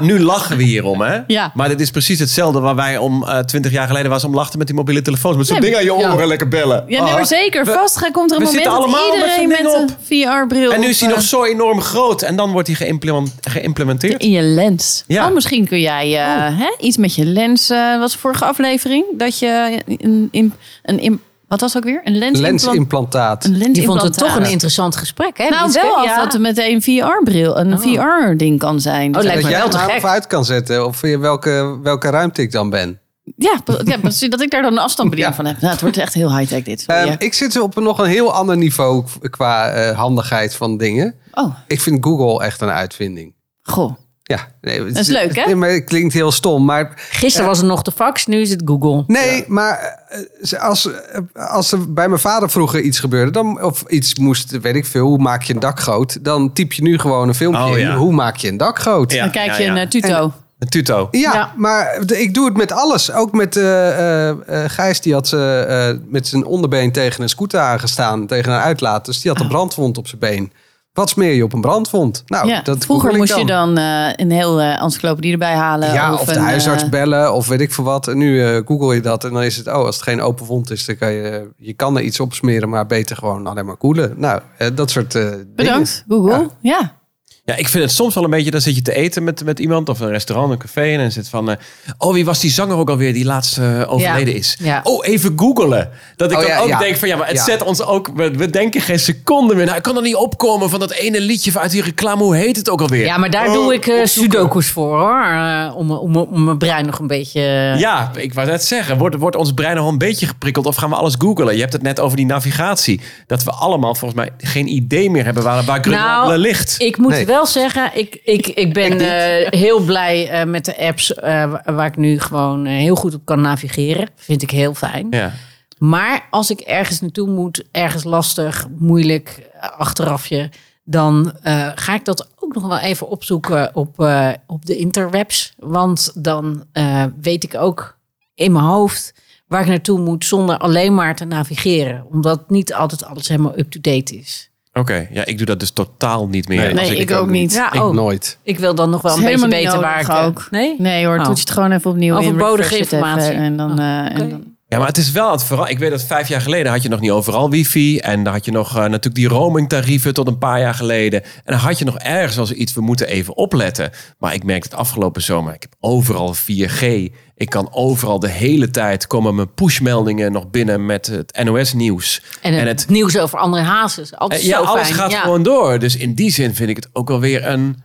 S3: Nu lachen we hierom, hè?
S1: Ja.
S3: Maar dit is precies hetzelfde waar wij om eh, twintig jaar geleden was om lachten met die mobiele telefoons. Met zo'n
S1: Nee,
S3: ding aan je
S1: ja.
S3: oren, lekker bellen. Ah.
S1: Ja, nee, maar zeker. Vast gaat- komt er een
S3: Oh. we
S1: moment
S3: zitten
S1: dat
S3: allemaal met
S1: iedereen met,
S3: zo'n ding
S1: een VR-bril
S3: En nu
S1: op,
S3: is hij
S1: eh,
S3: nog zo enorm groot en dan wordt hij geïmplement- geïmplementeerd.
S1: eh, in je lens.
S3: Ja.
S1: Oh, misschien kun jij eh, hè, iets met je lens. eh was de vorige aflevering dat je een, een, een, een- wat was het ook weer? Een lens.
S4: Lensimplantaat.
S1: een lens
S2: Je vond het toch een interessant gesprek, hè?
S1: Nou,
S2: Wietse?
S1: wel af
S2: Ja.
S1: dat het meteen een VR-bril, een VR-ding kan zijn.
S2: Oh, lijkt
S4: Dat
S2: me
S4: jij
S2: wel
S4: het
S2: te
S4: aan
S2: gek.
S4: of uit kan zetten. Of in welke, welke ruimte ik dan ben.
S1: ja, pre- ja, precies, dat ik daar dan een afstandsbediening
S4: Ja.
S1: van heb. Nou, het wordt echt heel high-tech dit.
S4: Ehm,
S1: Ja.
S4: Ik zit op een, nog een heel ander niveau k- qua eh, handigheid van dingen.
S1: Oh,
S4: Ik vind Google echt een uitvinding.
S1: goh.
S4: Ja, nee, het
S1: is leuk, hè?
S4: Nee, maar het klinkt heel stom. Maar
S2: Gisteren was er nog de fax, nu is het Google.
S4: nee, maar eh, eh, als, eh, als er bij mijn vader vroeger iets gebeurde, dan, of iets moest, weet ik veel, hoe maak je een dak groot? Dan typ je nu gewoon een filmpje
S3: Oh,
S4: in.
S3: ja.
S4: Hoe maak je een dak groot?
S3: Ja,
S1: Dan kijk
S3: ja,
S1: je
S3: ja.
S1: een eh, tuto.
S3: Een tuto.
S4: Ja,
S1: Ja.
S4: maar de- ik doe het met alles. Ook met eh, eh, eh, Gijs, die had eh, eh, met zijn onderbeen tegen een scooter aangestaan, tegen een uitlaat. Dus die
S1: Ah.
S4: had een brandwond op zijn been. Wat smeer je op een brandwond? Nou,
S1: ja.
S4: dat
S1: Vroeger
S4: googel ik
S1: moest je dan eh, een heel eh encyclopedie erbij halen.
S4: Ja, of, de
S1: een, eh,
S4: huisarts bellen of weet ik veel wat. En nu eh, google je dat en dan is het, oh, als het geen open wond is, dan kan je, je kan er iets op smeren, maar beter gewoon alleen maar koelen. Nou, eh, dat soort eh, dingen.
S1: Bedankt, Google. ja.
S3: Ja, ik vind het soms wel een beetje, dan zit je te eten met, met iemand of een restaurant, een café en dan zit van, eh, oh wie was die zanger ook alweer die laatst eh, overleden is?
S2: ja.
S3: Oh, even googelen. Dat ik
S4: Oh,
S3: dan
S4: ja,
S3: ook
S4: ja.
S3: denk van, ja, maar het
S4: Ja.
S3: zet ons ook, we, we denken geen seconde meer. Nou, ik kan er niet opkomen van dat ene liedje van uit die reclame, hoe heet het ook alweer?
S2: Ja, maar daar doe ik eh, sudokus voor, hoor. Eh, om, om, om mijn brein nog een beetje...
S3: Ja, ik wou net zeggen, wordt, wordt ons brein nog een beetje geprikkeld of gaan we alles googelen? Je hebt het net over die navigatie. Dat we allemaal volgens mij geen idee meer hebben waar, waar Grenoble
S2: Nou,
S3: ligt.
S2: Ik moet
S4: Nee.
S2: wel zeggen, ik, ik, ik ben eh, heel blij eh, met de apps eh, wa- waar ik nu gewoon eh, heel goed op kan navigeren. Vind ik heel fijn.
S3: Ja.
S2: Maar als ik ergens naartoe moet, ergens lastig, moeilijk, eh, achterafje, dan eh, ga ik dat ook nog wel even opzoeken op, eh, op de interwebs. Want dan eh, weet ik ook in mijn hoofd waar ik naartoe moet zonder alleen maar te navigeren. Omdat niet altijd alles helemaal up-to-date is.
S3: Oké, ja, ik doe dat dus totaal niet meer.
S4: Nee.
S3: Als
S1: Nee, ik, ook niet.
S4: Ik
S2: oh,
S4: nooit.
S2: ik wil dan nog wel
S1: Het
S2: een
S1: is
S2: beetje
S1: helemaal
S2: weten
S1: niet
S2: waar ik...
S1: nodig
S2: eh,
S1: ook.
S2: Nee?
S1: Nee hoor,
S2: Oh.
S1: toets het gewoon even opnieuw in.
S2: Overbodige
S1: refresh het even
S2: informatie. Oh,
S1: En dan, eh, en
S2: Oké.
S1: dan-
S3: Ja, maar het is wel aan het veranderen. Ik weet dat vijf jaar geleden had je nog niet overal wifi. En dan had je nog eh, natuurlijk die roamingtarieven tot een paar jaar geleden. En dan had je nog ergens als iets, we moeten even opletten. Maar ik merkte het afgelopen zomer, ik heb overal 4G. Ik kan overal de hele tijd, komen mijn pushmeldingen nog binnen met het NOS-nieuws.
S2: En, het nieuws over andere hazes. Altijd
S3: ja,
S2: zo
S3: alles
S2: fijn.
S3: gaat
S2: ja.
S3: gewoon door. Dus in die zin vind ik het ook wel weer een...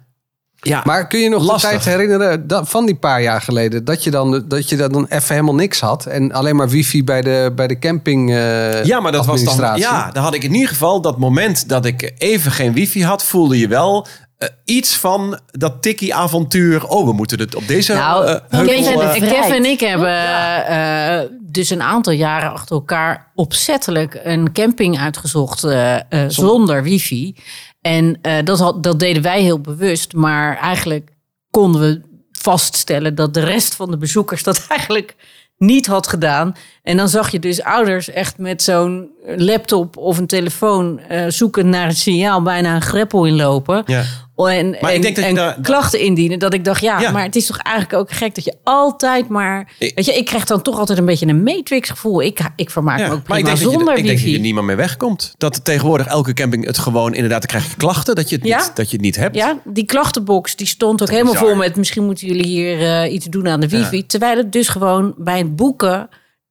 S3: Ja,
S4: Maar kun je nog
S3: Lastig.
S4: de tijd herinneren dat, van die paar jaar geleden... dat je dan, dat je dan even helemaal niks had... en alleen maar wifi bij de, bij de camping eh,
S3: Ja, maar dat was dan.
S4: administratie?
S3: Ja, dan had ik in ieder geval dat moment dat ik even geen wifi had, voelde je wel eh, iets van dat tikkie avontuur. Oh, we moeten het op deze.
S2: Nou,
S3: eh, heuvel,
S2: Kev, en,
S3: eh,
S2: ik- Kev en ik hebben eh, eh, dus een aantal jaren achter elkaar opzettelijk een camping uitgezocht eh, eh, zonder wifi. En eh, dat, had, dat deden wij heel bewust, maar eigenlijk konden we vaststellen dat de rest van de bezoekers dat eigenlijk niet had gedaan. En dan zag je dus ouders echt met zo'n laptop of een telefoon eh zoeken naar een signaal, bijna een greppel inlopen.
S3: ja.
S2: En,
S3: Maar ik
S2: en-
S3: denk dat je
S2: en
S3: daar-
S2: klachten indienen. Dat ik dacht, ja,
S3: Ja.
S2: maar het is toch eigenlijk ook gek dat je altijd maar...
S3: Ik-
S2: weet je, ik krijg dan toch altijd een beetje een matrix gevoel. Ik, ik vermaak
S3: Ja,
S2: me
S3: maar
S2: ook prima
S3: ik denk, dat je,
S2: zonder
S3: er- ik denk dat je
S2: wifi.
S3: er niemand mee wegkomt. Dat er tegenwoordig elke camping het gewoon inderdaad, dan krijg je klachten dat je het,
S2: Ja?
S3: niet, dat je het niet hebt.
S2: ja, die klachtenbox die stond ook helemaal
S3: bizar.
S2: vol met... misschien moeten jullie hier eh, iets doen aan de wifi. Terwijl het dus gewoon bij het boeken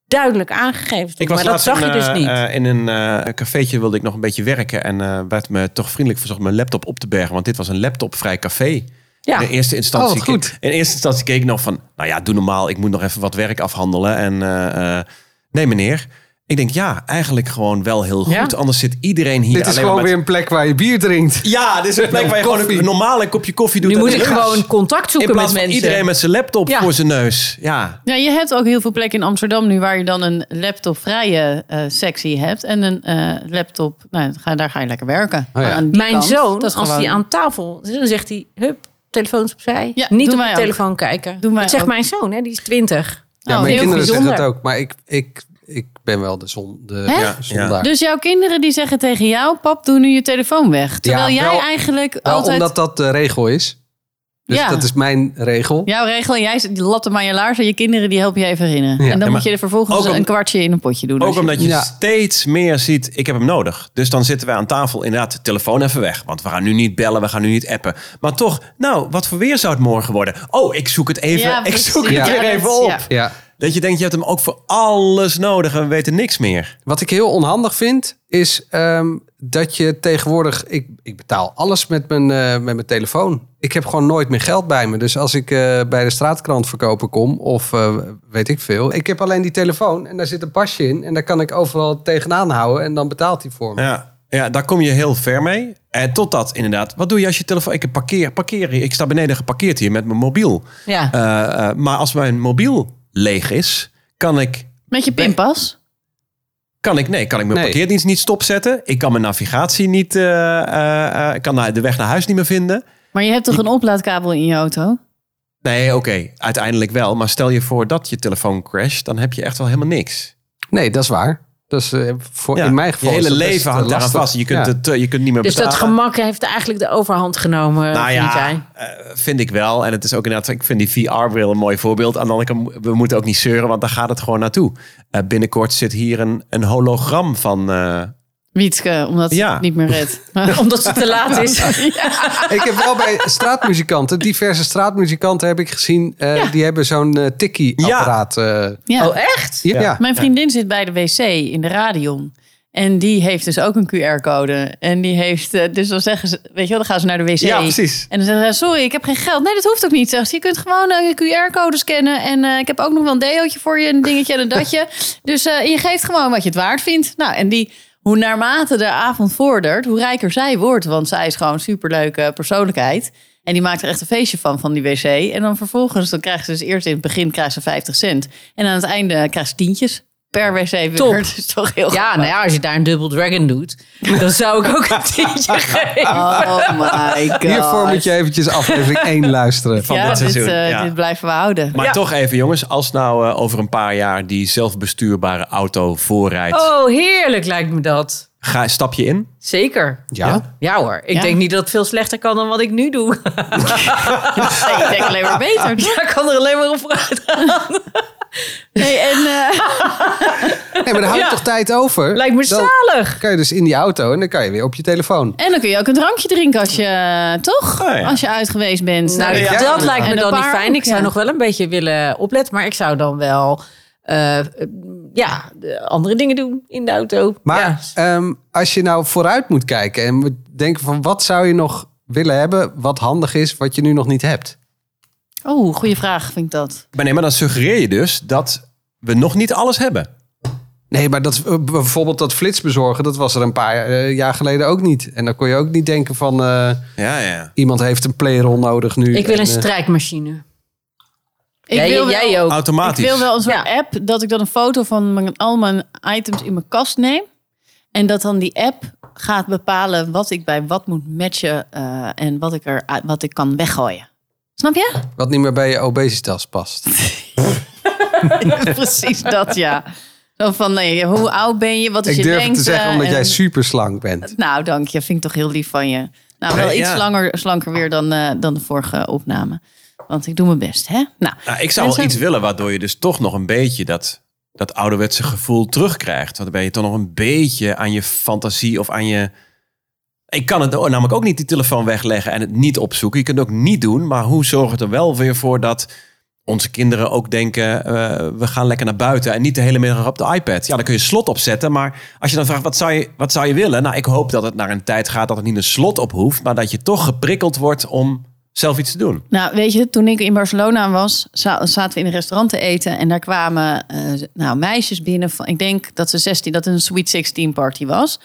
S2: duidelijk aangegeven stond.
S3: Ik was
S2: maar dat
S3: laatst
S2: zag je
S3: in,
S2: dus
S3: eh,
S2: niet.
S3: eh, in een eh, cafeetje wilde ik nog een beetje werken. En eh, werd me toch vriendelijk verzocht mijn laptop op te bergen. Want dit was een laptopvrij café.
S2: ja.
S3: In eerste
S4: Oh,
S3: instantie.
S4: wat goed.
S3: in eerste instantie keek ik nog van, nou ja, doe normaal. Ik moet nog even wat werk afhandelen. En eh, eh, nee, meneer. Ik denk ja, eigenlijk gewoon wel heel goed.
S2: Ja.
S3: Anders zit iedereen hier
S4: Dit is
S3: alleen
S4: gewoon
S3: maar met-
S4: weer een plek waar je bier drinkt.
S3: Ja, dit is een plek waar je gewoon
S4: Koffie.
S3: een normale kopje koffie doet.
S2: nu
S3: en
S2: moet
S3: een
S2: ik
S3: lunch.
S2: gewoon contact
S3: in
S2: zoeken met
S3: plaats van
S2: mensen.
S3: iedereen met zijn laptop
S2: Ja.
S3: voor zijn neus. Ja.
S1: Ja, Nou, je hebt ook heel veel plekken in Amsterdam nu waar je dan een laptopvrije eh sectie hebt. En een eh, laptop, nou, ga, daar ga je lekker werken.
S4: Oh ja.
S1: Maar aan die
S2: Mijn
S1: kant,
S2: zoon,
S1: dat is
S2: als hij
S1: gewoon-
S2: aan tafel zit, dan zegt hij: Hup, telefoons opzij.
S1: Ja,
S2: niet
S1: doen
S2: op
S1: wij
S2: de
S1: ook.
S2: telefoon kijken.
S1: Doen wij
S2: dat zegt
S1: ook.
S2: mijn zoon, hè, die is 20.
S4: Ja,
S1: Oh,
S4: mijn
S1: heel
S4: kinderen zeggen dat
S2: bijzonder.
S4: ook. Maar ik, ik, ik ben wel de, zon, de
S1: Hè?
S4: ja, zondaar.
S1: Dus jouw kinderen die zeggen tegen jou, pap, doe nu je telefoon weg. Terwijl
S4: Ja,
S1: jij
S4: wel-
S1: eigenlijk
S4: Nou,
S1: altijd...
S4: Omdat dat de regel is. Dus
S1: Ja.
S4: dat is mijn regel.
S1: Jouw regel, jij zet die latten maar je laars en je kinderen die helpen je even herinneren. en dan
S3: Ja,
S1: moet je er
S3: ook
S1: vervolgens
S3: om-
S1: een kwartje in een potje doen. als
S3: Ook
S1: je-
S3: omdat je
S4: Ja.
S3: steeds meer ziet, ik heb hem nodig. Dus dan zitten wij aan tafel, inderdaad, de telefoon even weg. Want we gaan nu niet bellen, we gaan nu niet appen. Maar toch, nou, wat voor weer zou het morgen worden? Oh, ik zoek het even,
S1: Ja,
S3: ik zoek het
S1: precies.
S3: weer
S1: Ja,
S3: even
S1: dat-
S3: op.
S1: ja.
S4: Ja.
S3: Dat je denkt, je hebt hem ook voor alles nodig en we weten niks meer.
S4: Wat ik heel onhandig vind, is ehm, dat je tegenwoordig... Ik, ik betaal alles met mijn, eh, met mijn telefoon. Ik heb gewoon nooit meer geld bij me. Dus als ik eh, bij de straatkrant verkopen kom, of eh, weet ik veel... Ik heb alleen die telefoon en daar zit een pasje in. En daar kan ik overal tegenaan houden en dan betaalt hij voor me.
S3: Ja, ja daar kom je heel ver mee. En totdat inderdaad, wat doe je als je telefoon... Ik parkeer, parkeer hier. Ik sta beneden geparkeerd hier met mijn mobiel.
S2: Ja.
S3: Eh, eh, maar als mijn mobiel leeg is, kan ik
S1: Met je pinpas.
S3: Kan ik, nee, kan ik mijn
S4: Nee.
S3: parkeerdienst niet stopzetten. Ik kan mijn navigatie niet, eh eh, eh, ik kan naar- de weg naar huis niet meer vinden.
S1: Maar je hebt toch een oplaadkabel in je auto?
S3: Nee, oké, uiteindelijk wel. Maar stel je voor dat je telefoon crasht, dan heb je echt wel helemaal niks.
S4: Nee, dat is waar. Dat is, eh, voor,
S3: Ja,
S4: in mijn geval
S3: je
S4: is
S3: hele
S4: dat best eh,
S3: leven hangt daaraan
S4: lastig.
S3: vast. Je kunt,
S4: Ja.
S3: het, eh, je kunt niet meer
S2: Dus dat
S3: betalen.
S2: gemak heeft eigenlijk de overhand genomen,
S3: nou
S2: vind
S3: ja,
S2: jij?
S3: eh, vind ik wel. En het is ook inderdaad, ik vind die VR-bril een mooi voorbeeld. Aan de andere kant, we moeten ook niet zeuren, want daar gaat het gewoon naartoe. Eh, binnenkort zit hier een, een hologram van... eh,
S1: Wietske, omdat ze
S3: Ja. Oh,
S1: het niet meer redt.
S2: Omdat het te laat is.
S4: Ik heb wel bij straatmuzikanten, diverse straatmuzikanten heb ik gezien. eh, Die hebben zo'n eh, tikkie-apparaat. eh,
S1: ja.
S2: Oh, echt?
S4: ja.
S3: Ja.
S1: Mijn vriendin zit bij de wc in de Radion. En die heeft dus ook een QR-code. En die heeft, eh, dus dan zeggen ze, weet je wel, dan gaan ze naar de wc.
S3: Ja, precies.
S1: En dan zeggen ze, sorry, ik heb geen geld. Nee, dat hoeft ook niet, zegt ze. Je kunt gewoon eh, je QR-code scannen. En eh, ik heb ook nog wel een deootje voor je, een dingetje en een datje. Dus eh, je geeft gewoon wat je het waard vindt. Nou, en die hoe naarmate de avond vordert, hoe rijker zij wordt. Want zij is gewoon een superleuke persoonlijkheid. En die maakt er echt een feestje van, van die wc. En dan vervolgens, dan krijgt ze dus eerst in het begin krijgt ze 50 cent. En aan het einde krijgt ze tientjes per wc. weer.
S2: Top.
S1: Dat is toch heel
S2: Ja, nou ja, als je daar een Double Dragon doet, dan zou ik ook een tientje geven.
S1: Oh my god.
S4: Hiervoor moet je eventjes aflevering 1 luisteren.
S3: van
S1: ja,
S3: dit seizoen,
S1: Dit, eh,
S3: ja.
S1: dit blijven we houden.
S3: Maar toch even jongens, als nou eh, over een paar jaar die zelfbestuurbare auto voorrijdt,
S2: Oh, heerlijk lijkt me dat.
S3: ga, stap je in?
S2: Zeker.
S4: Ja.
S2: Ja hoor, ik
S1: Ja.
S2: denk niet dat het veel slechter kan dan wat ik nu doe.
S1: Nee, ik denk alleen maar beter.
S2: Ik kan er alleen maar op praten.
S1: Nee, en, eh,
S4: Nee, maar daar houdt
S2: Ja.
S4: toch tijd over?
S2: Lijkt me
S4: Dan
S2: zalig.
S4: kan je dus in die auto en dan kan je weer op je telefoon.
S1: en dan kun je ook een drankje drinken als je, eh, toch?
S3: Oh, ja.
S1: Als je uit geweest bent.
S2: Nou,
S4: Ja.
S2: dat lijkt me
S1: En een
S2: dan niet
S1: paar
S2: fijn.
S1: ook,
S2: Ik zou
S1: ja.
S2: nog wel een beetje willen opletten. Maar ik zou dan wel eh, eh, ja, de andere dingen doen in de auto. Ja.
S4: Maar ehm, als je nou vooruit moet kijken en moet denken van wat zou je nog willen hebben wat handig is, wat je nu nog niet hebt.
S1: Oh, goede vraag vind ik dat.
S3: Maar nee, maar dan suggereer je dus dat we nog niet alles hebben.
S4: Nee, maar dat, eh, bijvoorbeeld dat flitsbezorgen, dat was er een paar eh, jaar geleden ook niet. En dan kon je ook niet denken van eh,
S3: Ja, ja.
S4: iemand heeft een playroll nodig nu.
S2: Ik wil
S4: En,
S2: een
S4: eh,
S2: strijkmachine.
S1: Ik
S2: jij,
S1: wil
S2: jij
S1: wel,
S2: ook.
S1: ik
S3: Automatisch.
S1: wil wel een soort app dat ik dan een foto van mijn, al mijn items in mijn kast neem. En dat dan die app gaat bepalen wat ik bij wat moet matchen eh, en wat ik, er, wat ik kan weggooien. Snap je?
S4: Wat niet meer bij je obesitas past.
S2: Dus
S1: Precies dat, ja. Zo van, nee, hoe oud ben je? Wat is
S4: Ik
S1: je
S4: durf het
S1: lengte?
S4: te zeggen omdat
S2: eh,
S1: En-
S4: jij super slank bent.
S1: Nou, dank je. Vind ik toch heel lief van je. Nou, wel
S3: Nee,
S1: iets
S3: ja.
S1: langer, slanker weer dan, eh, dan de vorige opname. Want ik doe mijn best, hè? Nou,
S3: Nou, ik zou wel
S1: mensen-
S3: iets willen waardoor je dus toch nog een beetje dat, dat ouderwetse gevoel terugkrijgt. Want dan ben je toch nog een beetje aan je fantasie of aan je... Ik kan het namelijk ook niet die telefoon wegleggen en het niet opzoeken. Je kunt het ook niet doen, maar hoe zorgt het er wel weer voor dat onze kinderen ook denken... eh, we gaan lekker naar buiten en niet de hele middag op de iPad. Ja, dan kun je slot opzetten, maar als je dan vraagt wat zou je, wat zou je willen? Nou, ik hoop dat het naar een tijd gaat dat het niet een slot op hoeft... maar dat je toch geprikkeld wordt om zelf iets te doen.
S1: Nou, weet je, toen ik in Barcelona was, za- zaten we in een restaurant te eten. En daar kwamen eh, nou, meisjes binnen. Van, ik denk dat ze 16, dat het een Sweet 16 party was.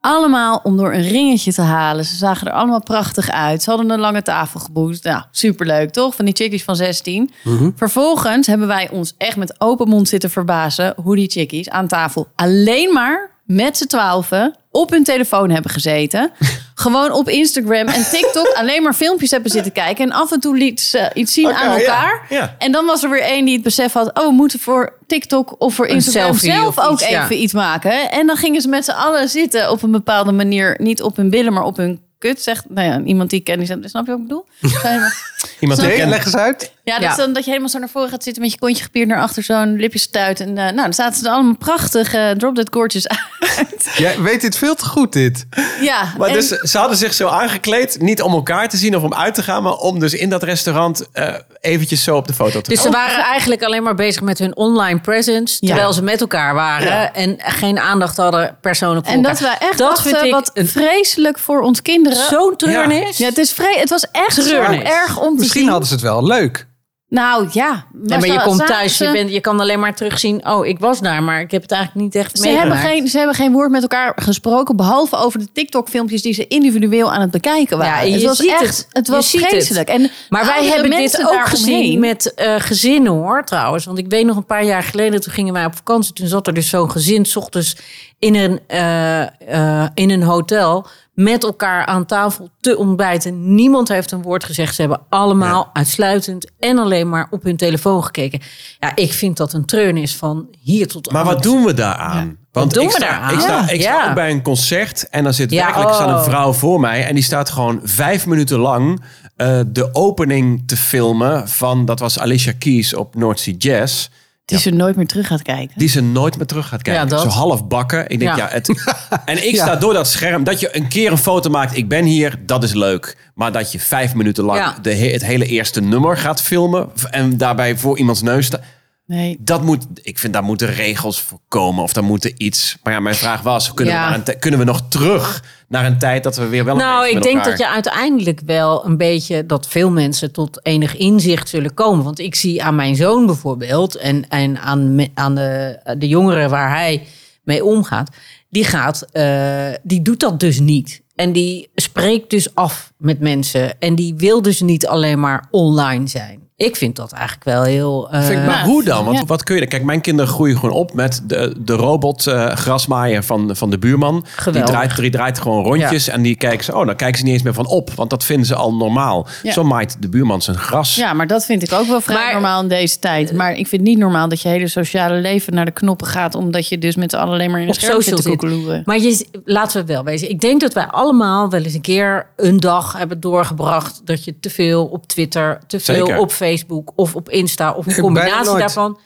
S1: Allemaal om door een ringetje te halen. Ze zagen er allemaal prachtig uit. Ze hadden een lange tafel geboekt. Nou, superleuk toch? Van die chickies van 16. Vervolgens hebben wij ons echt met open mond zitten verbazen... hoe die chickies aan tafel alleen maar met z'n twaalfen... op hun telefoon hebben gezeten. Gewoon op Instagram en TikTok alleen maar filmpjes hebben zitten kijken. En af en toe liet ze iets zien aan elkaar.
S3: ja.
S1: En dan was er weer één die het besef had... oh, we moeten voor TikTok of voor Instagram
S2: selfie
S1: zelf
S2: of
S1: ook
S2: iets, ja.
S1: even iets maken. En dan gingen ze met z'n allen zitten op een bepaalde manier. Niet op hun billen, maar op hun kut. Zegt, nou ja, iemand die ik ken, die zegt, snap je wat ik bedoel? Zei maar-
S3: Iemand die
S4: Nee,
S3: kent-
S4: leg eens uit.
S1: ja, dat
S2: Ja.
S1: is dan dat je helemaal zo naar voren gaat zitten met je kontje gepierd naar achter, zo'n lipjes stuit. En eh, nou, dan zaten ze er allemaal prachtig, eh, drop that gorgeous uit.
S4: Jij weet dit veel te goed, dit.
S1: ja,
S3: Maar
S1: en-
S3: dus ze hadden zich zo aangekleed, niet om elkaar te zien of om uit te gaan, maar om dus in dat restaurant eh, eventjes zo op de foto te
S2: Dus
S3: komen.
S2: ze waren eigenlijk alleen maar bezig met hun online presence.
S1: Ja.
S2: Terwijl ze met elkaar waren. En geen aandacht hadden persoonlijk voor
S1: en dat
S2: elkaar.
S1: wij echt
S2: dat
S1: dachten,
S2: vind ik
S1: wat
S2: een-
S1: vreselijk voor ons kinderen.
S2: zo'n treurnis.
S1: Ja, het, is vre het was echt zo
S2: Treurnis.
S1: erg om te
S4: Misschien
S1: zien.
S4: hadden ze het wel leuk.
S1: Nou ja.
S2: Nee, maar je
S1: ze-
S2: komt
S1: zaten
S2: thuis,
S1: ze-
S2: je, bent, je kan alleen maar terugzien. Oh, ik was daar, maar ik heb het eigenlijk niet echt
S1: Ze hebben,
S2: meegemaakt.
S1: geen, ze hebben geen woord met elkaar gesproken, behalve over de TikTok-filmpjes die ze individueel aan het bekijken waren.
S2: Ja, je
S1: het was
S2: ziet
S1: echt,
S2: het.
S1: was
S2: Je ziet het.
S1: vreselijk. En
S2: Maar wij
S1: oudere
S2: hebben dit
S1: mensen
S2: ook
S1: daaromheen-
S2: gezien met eh, gezinnen hoor, trouwens. Want ik weet nog een paar jaar geleden, toen gingen wij op vakantie. Toen zat er dus zo'n gezin, s ochtends in een, eh, eh, in een hotel... met elkaar aan tafel te ontbijten. Niemand heeft een woord gezegd. Ze hebben allemaal uitsluitend en alleen maar op hun telefoon gekeken. Ja, ik vind dat een treurnis van hier tot
S3: Maar wat
S2: aan.
S3: doen we daaraan? Want
S2: doen
S3: ik
S2: we
S3: sta,
S2: daaraan?
S3: Ik sta,
S2: Ja,
S3: ik sta
S2: ja.
S3: ook bij een concert en dan zit
S2: Ja,
S3: werkelijk staan
S2: oh.
S3: een vrouw voor mij en die staat gewoon vijf minuten lang eh, de opening te filmen van, dat was Alicia Keys op North Sea Jazz,
S1: Die ze nooit meer terug gaat kijken.
S3: die ze nooit meer terug gaat kijken.
S2: Ja, dat.
S3: Zo half bakken. Ik denk, ja.
S2: Ja.
S3: het, en ik sta door dat scherm, dat je een keer een foto maakt, ik ben hier, dat is leuk. Maar dat je vijf minuten lang
S2: Ja.
S3: de, he- het hele eerste nummer gaat filmen en daarbij voor iemands neus staat.
S1: Nee.
S3: Dat moet, ik vind, daar moeten regels voor komen. Of daar moeten iets. Maar ja, mijn vraag was: kunnen,
S2: Ja.
S3: we, naar een tij- kunnen we nog terug naar een tijd dat we weer wel. een
S2: Nou,
S3: beetje
S2: ik
S3: met
S2: denk
S3: elkaar-
S2: dat je uiteindelijk wel een beetje dat veel mensen tot enig inzicht zullen komen. Want ik zie aan mijn zoon bijvoorbeeld en, en aan, me- aan de, de jongeren waar hij mee omgaat. die gaat, eh, die doet dat dus niet. En die spreekt dus af met mensen. En die wil dus niet alleen maar online zijn. Ik vind dat eigenlijk wel heel. eh,
S3: Vind ik, maar
S1: Ja.
S3: hoe dan? Want
S1: Ja.
S3: wat kun je dan? Kijk, mijn kinderen groeien gewoon op met de, de robot eh, grasmaaier van, van de buurman.
S2: Geweldig.
S3: Die draait, die draait gewoon rondjes en die kijken ze, oh, dan kijken ze niet eens meer van op. Want dat vinden ze al normaal.
S1: Ja.
S3: Zo maait de buurman zijn gras.
S1: Ja, maar dat vind ik ook wel vrij
S2: Maar- Eh,
S1: normaal in deze tijd. Maar ik vind niet normaal dat je hele sociale leven naar de knoppen gaat... omdat je dus met z'n allen alleen maar in een
S2: op
S1: scherm zit
S2: social
S1: te
S2: zit.
S1: koekeloeren.
S2: Maar je, laten we wel wezen. Ik denk dat wij allemaal wel eens een keer een dag hebben doorgebracht dat je te veel op Twitter, te veel
S3: Zeker.
S2: op Facebook of op Insta of een
S4: heb bijna
S2: combinatie
S4: nooit.
S2: daarvan.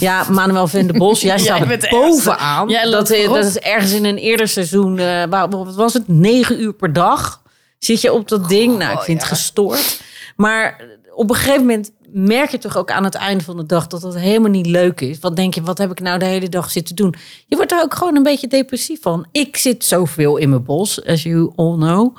S2: Ja, Manuel van den Bos, jij staat
S1: bent de
S2: er bovenaan.
S1: ergste. Jij
S2: dat,
S1: loopt
S2: is-
S1: voorop.
S2: dat is ergens in een eerder seizoen, eh, waar, wat was het, negen uur per dag zit je op dat ding.
S3: Oh,
S2: Nou, ik vind het gestoord. Maar op een gegeven moment merk je toch ook aan het einde van de dag dat dat helemaal niet leuk is. Wat denk je, wat heb ik nou de hele dag zitten doen? Je wordt er ook gewoon een beetje depressief van. Ik zit zoveel in mijn bos, as you all know.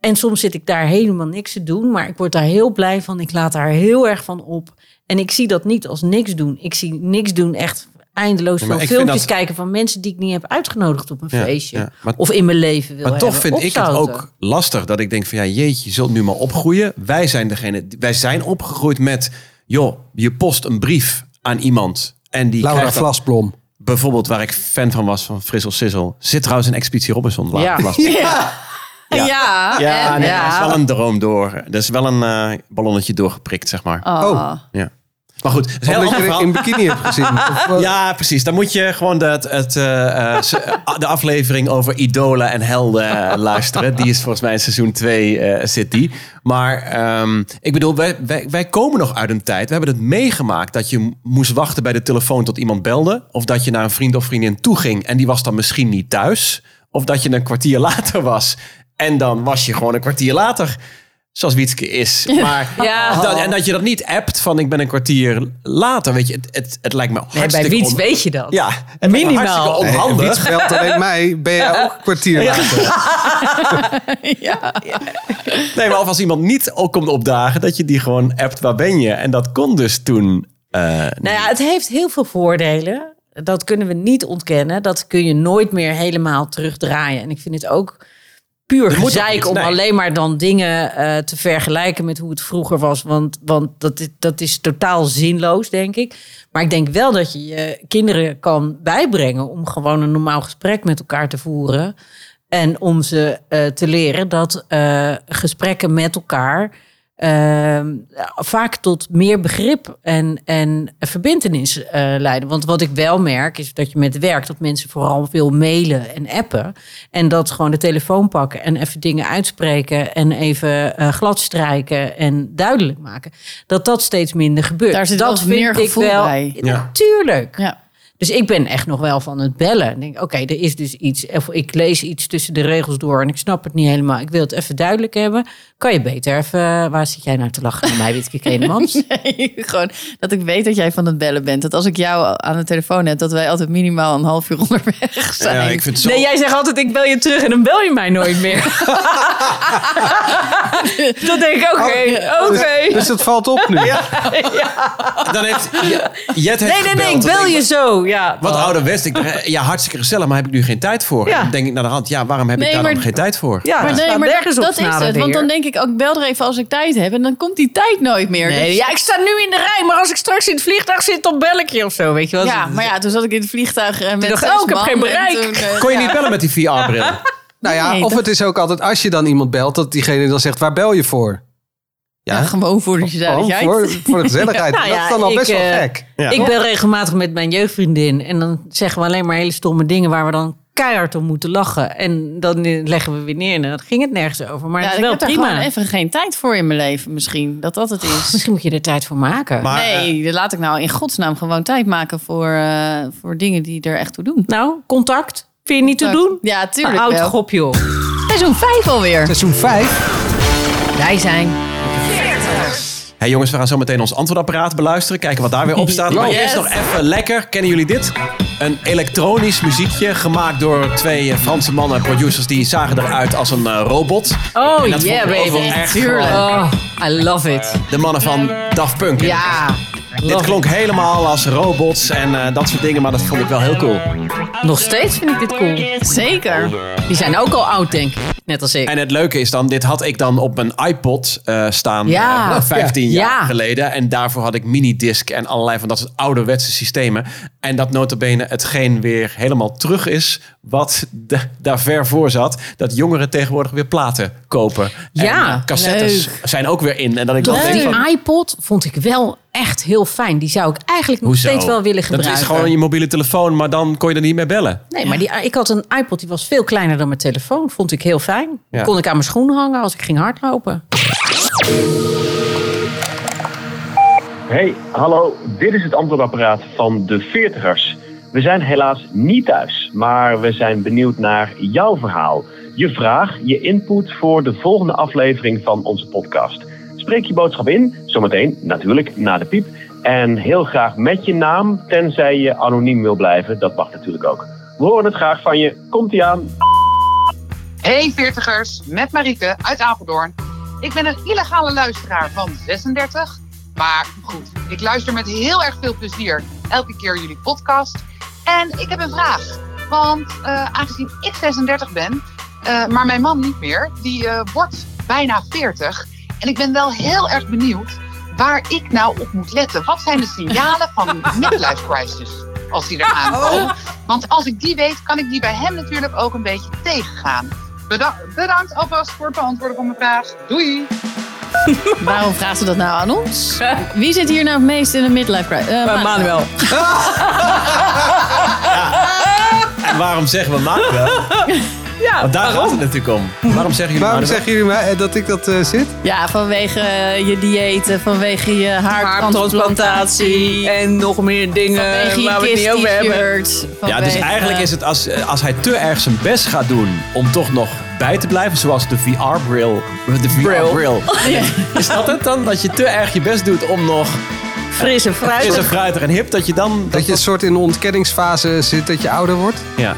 S2: En soms zit ik daar helemaal niks te doen, maar ik word daar heel blij van. Ik laat daar heel erg van op. En ik zie dat niet als niks doen. Ik zie niks doen echt eindeloos
S3: Ja, maar
S2: veel
S3: ik vind
S2: filmpjes
S3: dat-
S2: kijken van mensen die ik niet heb uitgenodigd op een
S3: Ja,
S2: feestje.
S3: ja. Maar-
S2: of in mijn leven wil
S3: Maar toch
S2: hebben.
S3: vind ik het
S2: Opzouten.
S3: ook lastig dat ik denk van ja, jeetje, je zult nu maar opgroeien. Wij zijn degene, wij zijn opgegroeid met, joh, je post een brief aan iemand en die
S4: Laura
S3: krijgt dat-
S4: Vlasblom.
S3: bijvoorbeeld waar ik fan van was van Frissel Sissel, zit trouwens in Expeditie Robinson. Laura
S2: Ja.
S3: Vlasblom.
S1: Ja,
S2: Ah, eh,
S3: Ja,
S1: en-
S3: nee,
S1: ja.
S3: dat is wel een droom door. Er is wel een eh, ballonnetje doorgeprikt, zeg maar.
S1: Oh.
S4: Oh.
S3: Ja. Maar goed, het is een heel
S4: Omdat
S3: ander
S4: je er
S3: verhaal.
S4: in bikini hebt gezien. Of eh, wat?
S3: Ja, precies. Dan moet je gewoon dat, het, eh, eh, se- eh, de aflevering over idolen en helden eh, luisteren. Die is volgens mij in seizoen 2 zit die. Maar ehm, ik bedoel, wij, wij, wij komen nog uit een tijd. We hebben het meegemaakt dat je moest wachten bij de telefoon tot iemand belde. Of dat je naar een vriend of vriendin toe ging en die was dan misschien niet thuis. Of dat je een kwartier later was en dan was je gewoon een kwartier later. Zoals Wietske is. Maar
S2: Ja.
S3: dat- en dat je dat niet appt van ik ben een kwartier later. Weet je, het, het, het lijkt me
S2: Nee, bij
S3: hartstikke
S2: Wiets
S3: on-
S2: weet je dat.
S3: ja, en
S2: Minimaal.
S3: Hartstikke
S4: Nee,
S3: onhandig.
S4: Wiets geldt alleen mij. Ben jij ook een kwartier later?
S3: Nee, maar of als iemand niet ook komt opdagen, dat je die gewoon appt, waar ben je? En dat kon dus toen. eh,
S2: Nou ja, het heeft heel veel voordelen. Dat kunnen we niet ontkennen. Dat kun je nooit meer helemaal terugdraaien. En ik vind het ook puur
S3: Er moet ook
S2: gezeik
S3: iets,
S2: om
S3: nee.
S2: alleen maar dan dingen eh, te vergelijken met hoe het vroeger was. Want, want dat, is- dat is totaal zinloos, denk ik. Maar ik denk wel dat je je kinderen kan bijbrengen om gewoon een normaal gesprek met elkaar te voeren. En om ze eh, te leren dat eh, gesprekken met elkaar eh, vaak tot meer begrip en, en verbindenis eh, leiden. Want wat ik wel merk is dat je met werk, dat mensen vooral veel mailen en appen. En dat gewoon de telefoon pakken en even dingen uitspreken en even eh, gladstrijken en duidelijk maken. Dat dat steeds minder gebeurt.
S1: Daar zit wel
S2: dat
S1: eens meer gevoel bij.
S3: Ja.
S2: Natuurlijk.
S1: Ja.
S2: Dus ik ben echt nog wel van het bellen. Ik denk, oké, er is dus iets. Of ik lees iets tussen de regels door en ik snap het niet helemaal. Ik wil het even duidelijk hebben. Kan je beter even... Waar zit jij nou te lachen naar mij, Witke Kenemans?
S1: Nee, gewoon dat ik weet dat jij van het bellen bent. Dat als ik jou aan de telefoon heb, dat wij altijd minimaal een half uur onderweg zijn.
S3: ja, ik vind het zo.
S2: Nee, jij zegt altijd, ik bel je terug en dan bel je mij nooit meer. dan denk ik, oké, oké.
S4: Dus, dus dat valt op nu.
S2: dus-
S3: Dan heeft, ja, Jet heeft
S2: Nee, nee, nee,
S3: gebeld.
S2: ik
S3: Dan
S2: bel
S3: denk
S2: je zo. Ja,
S3: Wat ouderwets. Ik, eh, ja, hartstikke gezellig, maar heb ik nu geen tijd voor?
S2: Ja.
S3: Dan denk ik naar de hand, ja, waarom heb ik
S1: Nee,
S3: daar dan
S1: maar-
S3: geen tijd voor?
S2: Ja,
S1: Maar nee,
S2: staan
S1: maar dat,
S2: nergens dus op
S1: dat is
S2: snaren
S1: het. Want
S2: weer.
S1: dan denk ik ook, bel er even als ik tijd heb. En dan komt die tijd nooit meer.
S2: Nee,
S1: Dus-
S2: ja, ik sta nu in de rij, maar als ik straks in het vliegtuig zit, dan bel ik je of zo. Weet je wel? Dus-
S1: ja, maar ja, toen zat ik in het vliegtuig en met
S2: dacht ik,
S1: zes
S2: oh, ik heb
S1: man
S2: geen
S1: en
S2: bereik.
S1: toen, eh,
S3: Kon je
S1: ja.
S3: niet bellen met die VR-bril?
S4: Nou ja,
S1: Nee,
S4: of
S1: dat-
S4: het is ook altijd als je dan iemand belt, dat diegene dan zegt, waar bel je voor?
S1: Ja, gewoon voor de
S2: Oh,
S4: Gewoon
S1: gezelligheid.
S4: voor, voor de gezelligheid.
S2: Nou
S4: dat
S2: ja,
S4: is dan al
S2: ik,
S4: best wel
S2: eh,
S4: gek.
S3: Ja.
S2: Ik ben regelmatig met mijn jeugdvriendin en dan zeggen we alleen maar hele stomme dingen waar we dan keihard om moeten lachen. En dan eh, leggen we weer neer en dan ging het nergens over. Maar
S1: Ja,
S2: het
S1: ik
S2: is wel
S1: heb er gewoon
S2: prima.
S1: even geen tijd voor in mijn leven misschien. Dat dat het is.
S2: Misschien moet je er tijd voor maken.
S3: Maar, eh,
S1: nee, laat ik nou in godsnaam gewoon tijd maken voor, eh, voor dingen die er echt toe doen.
S2: Nou, contact. Vind je niet te doen?
S1: Ja, tuurlijk
S2: Een oud
S1: wel.
S2: gop, joh.
S1: Seizoen 5 alweer.
S4: Seizoen 5.
S2: Wij zijn.
S3: Hey jongens, we gaan zo meteen ons antwoordapparaat beluisteren. Kijken wat daar weer op staat. Maar
S1: Yes.
S3: eerst nog even lekker. Kennen jullie dit? Een elektronisch muziekje gemaakt door twee eh, Franse mannen producers. Die zagen eruit als een eh, robot.
S2: Oh,
S3: En dat
S2: yeah,
S3: vond ik ook wel
S2: baby.
S3: echt
S1: Tuurlijk.
S3: gewoon
S2: Oh, I love it.
S3: De mannen van Daft Punk.
S2: Ja.
S3: Dit klonk helemaal als robots en eh, dat soort dingen. Maar dat vond ik wel heel cool.
S2: Nog steeds vind ik dit cool.
S1: Zeker.
S2: Die zijn ook al oud, denk ik. Net als ik.
S3: En het leuke is dan, dit had ik dan op mijn iPod eh, staan
S2: Ja.
S3: eh, nou, 15
S2: Ja.
S3: jaar
S2: Ja.
S3: geleden. En daarvoor had ik minidisc en allerlei van dat soort ouderwetse systemen. En dat notabene hetgeen weer helemaal terug is wat da- daar ver voor zat. Dat jongeren tegenwoordig weer platen kopen.
S2: Ja,
S3: en, eh, cassettes zijn ook weer in. En dat ik dan
S2: Want
S3: denk van,
S2: die iPod vond ik wel echt heel fijn. Die zou ik eigenlijk nog
S3: hoezo?
S2: steeds wel willen gebruiken.
S3: Dat is gewoon je mobiele telefoon, maar dan kon je er niet mee bellen.
S2: Nee, maar die, ik had een iPod die was veel kleiner dan mijn telefoon. Vond ik heel fijn.
S3: Ja.
S2: Kon ik aan mijn schoenen hangen als ik ging hardlopen.
S7: Hey, hallo, dit is het antwoordapparaat van de veertigers. We zijn helaas niet thuis, maar we zijn benieuwd naar jouw verhaal. Je vraag, je input voor de volgende aflevering van onze podcast. Spreek je boodschap in, zometeen natuurlijk na de piep. En heel graag met je naam, tenzij je anoniem wil blijven. Dat mag natuurlijk ook. We horen het graag van je. Komt-ie aan.
S8: Hey veertigers, met Marieke uit Apeldoorn. Ik ben een illegale luisteraar van 36. Maar goed, ik luister met heel erg veel plezier elke keer jullie podcast. En ik heb een vraag. Want eh, aangezien ik 36 ben, eh, maar mijn man niet meer, die eh, wordt bijna 40. En ik ben wel heel erg benieuwd waar ik nou op moet letten. Wat zijn de signalen van een midlife crisis als die eraan komen? Want als ik die weet, kan ik die bij hem natuurlijk ook een beetje tegengaan. Beda- bedankt alvast voor het beantwoorden van mijn vraag. Doei!
S1: Waarom vraagt ze dat nou aan ons? Wie zit hier nou het meest in de midlife crisis? Eh, Manuel.
S3: En waarom zeggen we Manuel? ja, Want daar gaat het natuurlijk om. Waarom zeggen jullie
S4: Waarom
S3: Manuel?
S4: zeggen jullie mij eh, dat ik dat eh, zit?
S1: Ja, vanwege eh, je dieet, vanwege je haartransplantatie.
S2: En eh, nog meer
S1: Vanwege
S2: dingen
S1: je kist-t-shirt.
S3: Ja, dus eigenlijk is het als, eh, als hij te erg zijn best gaat doen om toch nog bij te blijven, zoals de VR-bril. De VR-bril. Is dat het dan? Dat je te erg je best doet om nog
S2: Frisse fruit.
S3: fris en fruitig en hip, dat je dan...
S4: Dat je een soort in de ontkenningsfase zit dat je ouder wordt?
S3: Ja.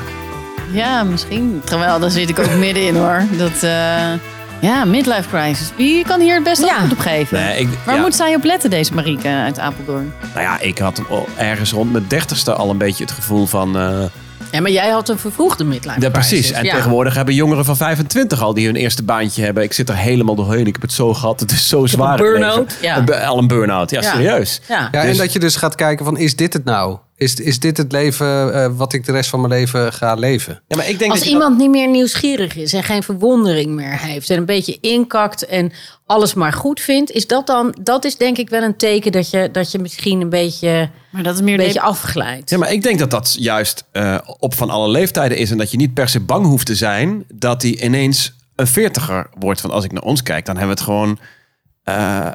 S1: Ja, misschien. Terwijl, daar zit ik ook middenin hoor. Dat, eh, ja, midlife crisis. Wie kan hier het beste
S2: Ja.
S1: antwoord op geven?
S3: Nee, ik-
S1: Waar
S3: ja.
S1: moet zij op letten, deze Marieke uit Apeldoorn?
S3: Nou ja, ik had hem al ergens rond mijn dertigste al een beetje het gevoel van... eh,
S2: Ja, maar jij had een vervroegde midlife
S3: ja,
S2: crisis.
S3: precies. En
S2: Ja.
S3: tegenwoordig hebben jongeren van 25 al die hun eerste baantje hebben. Ik zit er helemaal doorheen. Ik heb het zo gehad. Het is zo
S2: heb een
S3: zwaar. het
S2: burn-out,
S3: leven.
S2: ja.
S3: Een bu- Al een burn-out. Ja,
S2: Ja.
S3: serieus.
S2: Ja.
S4: Ja,
S3: Dus-
S4: en dat je dus gaat kijken van, is dit het nou? Is, is dit het leven eh, wat ik de rest van mijn leven ga leven?
S3: Ja, maar ik denk
S2: Als
S3: dat je-
S2: iemand niet meer nieuwsgierig is en geen verwondering meer heeft en een beetje inkakt en alles maar goed vindt, is dat dan, dat is denk ik wel een teken dat je, dat je misschien een beetje, een
S1: Maar dat is meer
S2: beetje afglijdt.
S3: Ja, maar ik denk dat dat juist eh, op van alle leeftijden is. En dat je niet per se bang hoeft te zijn dat hij ineens een veertiger wordt. Want als ik naar ons kijk, dan hebben we het gewoon, eh,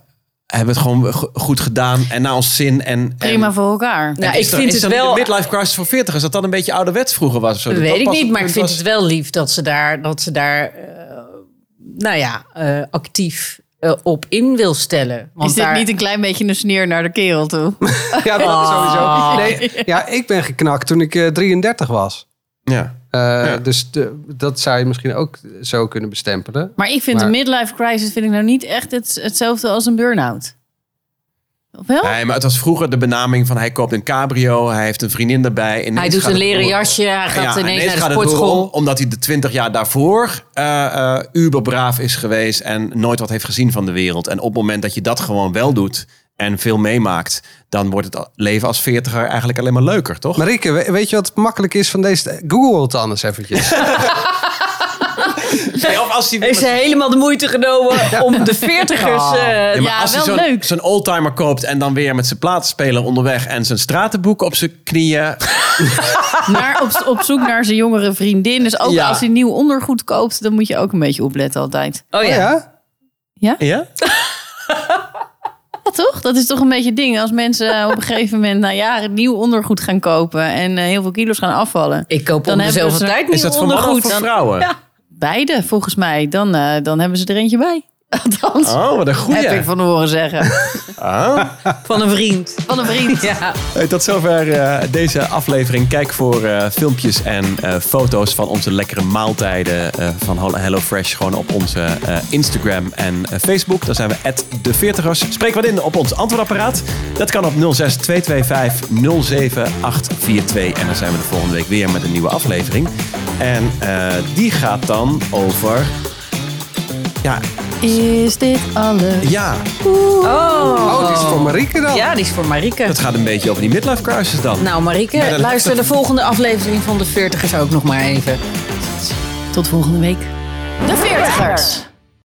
S3: hebben we het gewoon go- goed gedaan. En naar ons zin. En,
S1: prima
S3: en,
S1: voor elkaar.
S2: Nou,
S3: is
S2: ik
S3: er-
S2: vind
S3: is
S2: het
S3: een
S2: wel-
S3: midlife crisis voor veertigers, dat dat een beetje ouderwets vroeger was. of zo?
S2: Dat
S3: Dat
S2: weet
S3: dat
S2: ik
S3: pas
S2: niet, maar ik
S3: het
S2: vind
S3: was-
S2: het wel lief dat ze daar, dat ze daar eh, nou ja, eh, actief eh, op in wil stellen. Want
S1: is dit
S2: daar,
S1: niet een klein beetje een sneer naar de kerel toe?
S4: Ja, dat
S2: Oh.
S4: sowieso. Nee, ja, ik ben geknakt toen ik eh, 33 was.
S3: Ja.
S4: Eh, Dus de- dat zou je misschien ook zo kunnen bestempelen.
S1: Maar ik vind
S4: Maar-
S1: een midlife crisis vind ik nou niet echt het, hetzelfde als een burn-out. Of wel?
S3: Nee, maar het was vroeger de benaming van hij koopt een cabrio, hij heeft een vriendin erbij. Ineens
S2: hij doet
S3: gaat
S2: een
S3: het
S2: leren
S3: door-
S2: jasje, hij gaat
S3: Ja,
S2: ineens naar
S3: gaat
S2: de
S3: het
S2: sportschool.
S3: door, omdat hij de twintig jaar daarvoor eh eh uberbraaf is geweest en nooit wat heeft gezien van de wereld. En op het moment dat je dat gewoon wel doet en veel meemaakt, dan wordt het al- leven als veertiger eigenlijk alleen maar leuker, toch?
S4: Marieke, we- weet je wat makkelijk is van deze... Google het anders eventjes.
S3: Nee, of als hij,
S2: Heeft ze helemaal de moeite genomen om de
S3: Oh.
S2: veertigers... eh
S3: Ja, maar
S1: Ja,
S3: als hij
S1: wel
S3: zo'n-
S1: leuk.
S3: zo'n oldtimer koopt en dan weer met zijn platenspeler onderweg en zijn stratenboek op zijn knieën.
S1: Maar op, op zoek naar zijn jongere vriendin. Dus ook
S3: Ja.
S1: als hij nieuw ondergoed koopt, dan moet je ook een beetje opletten altijd.
S2: oh ja.
S4: ja?
S3: Ja?
S1: Ja, toch? Dat is toch een beetje het ding. Als mensen op een gegeven moment na jaren nieuw ondergoed gaan kopen en eh, heel veel kilo's gaan afvallen.
S2: Ik koop
S1: Dan
S2: om de
S1: hebben
S2: zoveel
S1: ze-
S2: tijd
S3: Is
S2: nieuw
S3: dat voor mannen of
S2: ondergoed.
S3: voor
S2: Dan-
S3: vrouwen?
S1: Beide, volgens mij. Dan, eh, dan hebben ze er eentje bij. Althans,
S3: Oh, wat een goeie.
S1: heb ik van horen zeggen.
S3: Ah.
S2: Van een vriend.
S1: Van een vriend.
S2: Ja.
S3: Hey, Tot zover eh, deze aflevering. Kijk voor eh, filmpjes en eh, foto's van onze lekkere maaltijden eh, van Hol- Hello Fresh gewoon op onze eh, Instagram en eh, Facebook. Daar zijn we de 40ers. Spreek wat in op ons antwoordapparaat. Dat kan op 06-225-07842. En dan zijn we de volgende week weer met een nieuwe aflevering. En eh, die gaat dan over. Ja,
S1: Is dit alles?
S3: ja,
S4: Oh, die is voor Marieke dan.
S2: ja, die is voor Marieke.
S3: het gaat een beetje over die midlife crisis dan.
S2: Nou, Marieke,
S3: Maar dan-
S2: luister de volgende aflevering van de 40 is ook nog maar even.
S1: Tot volgende week.
S5: De Veertigers.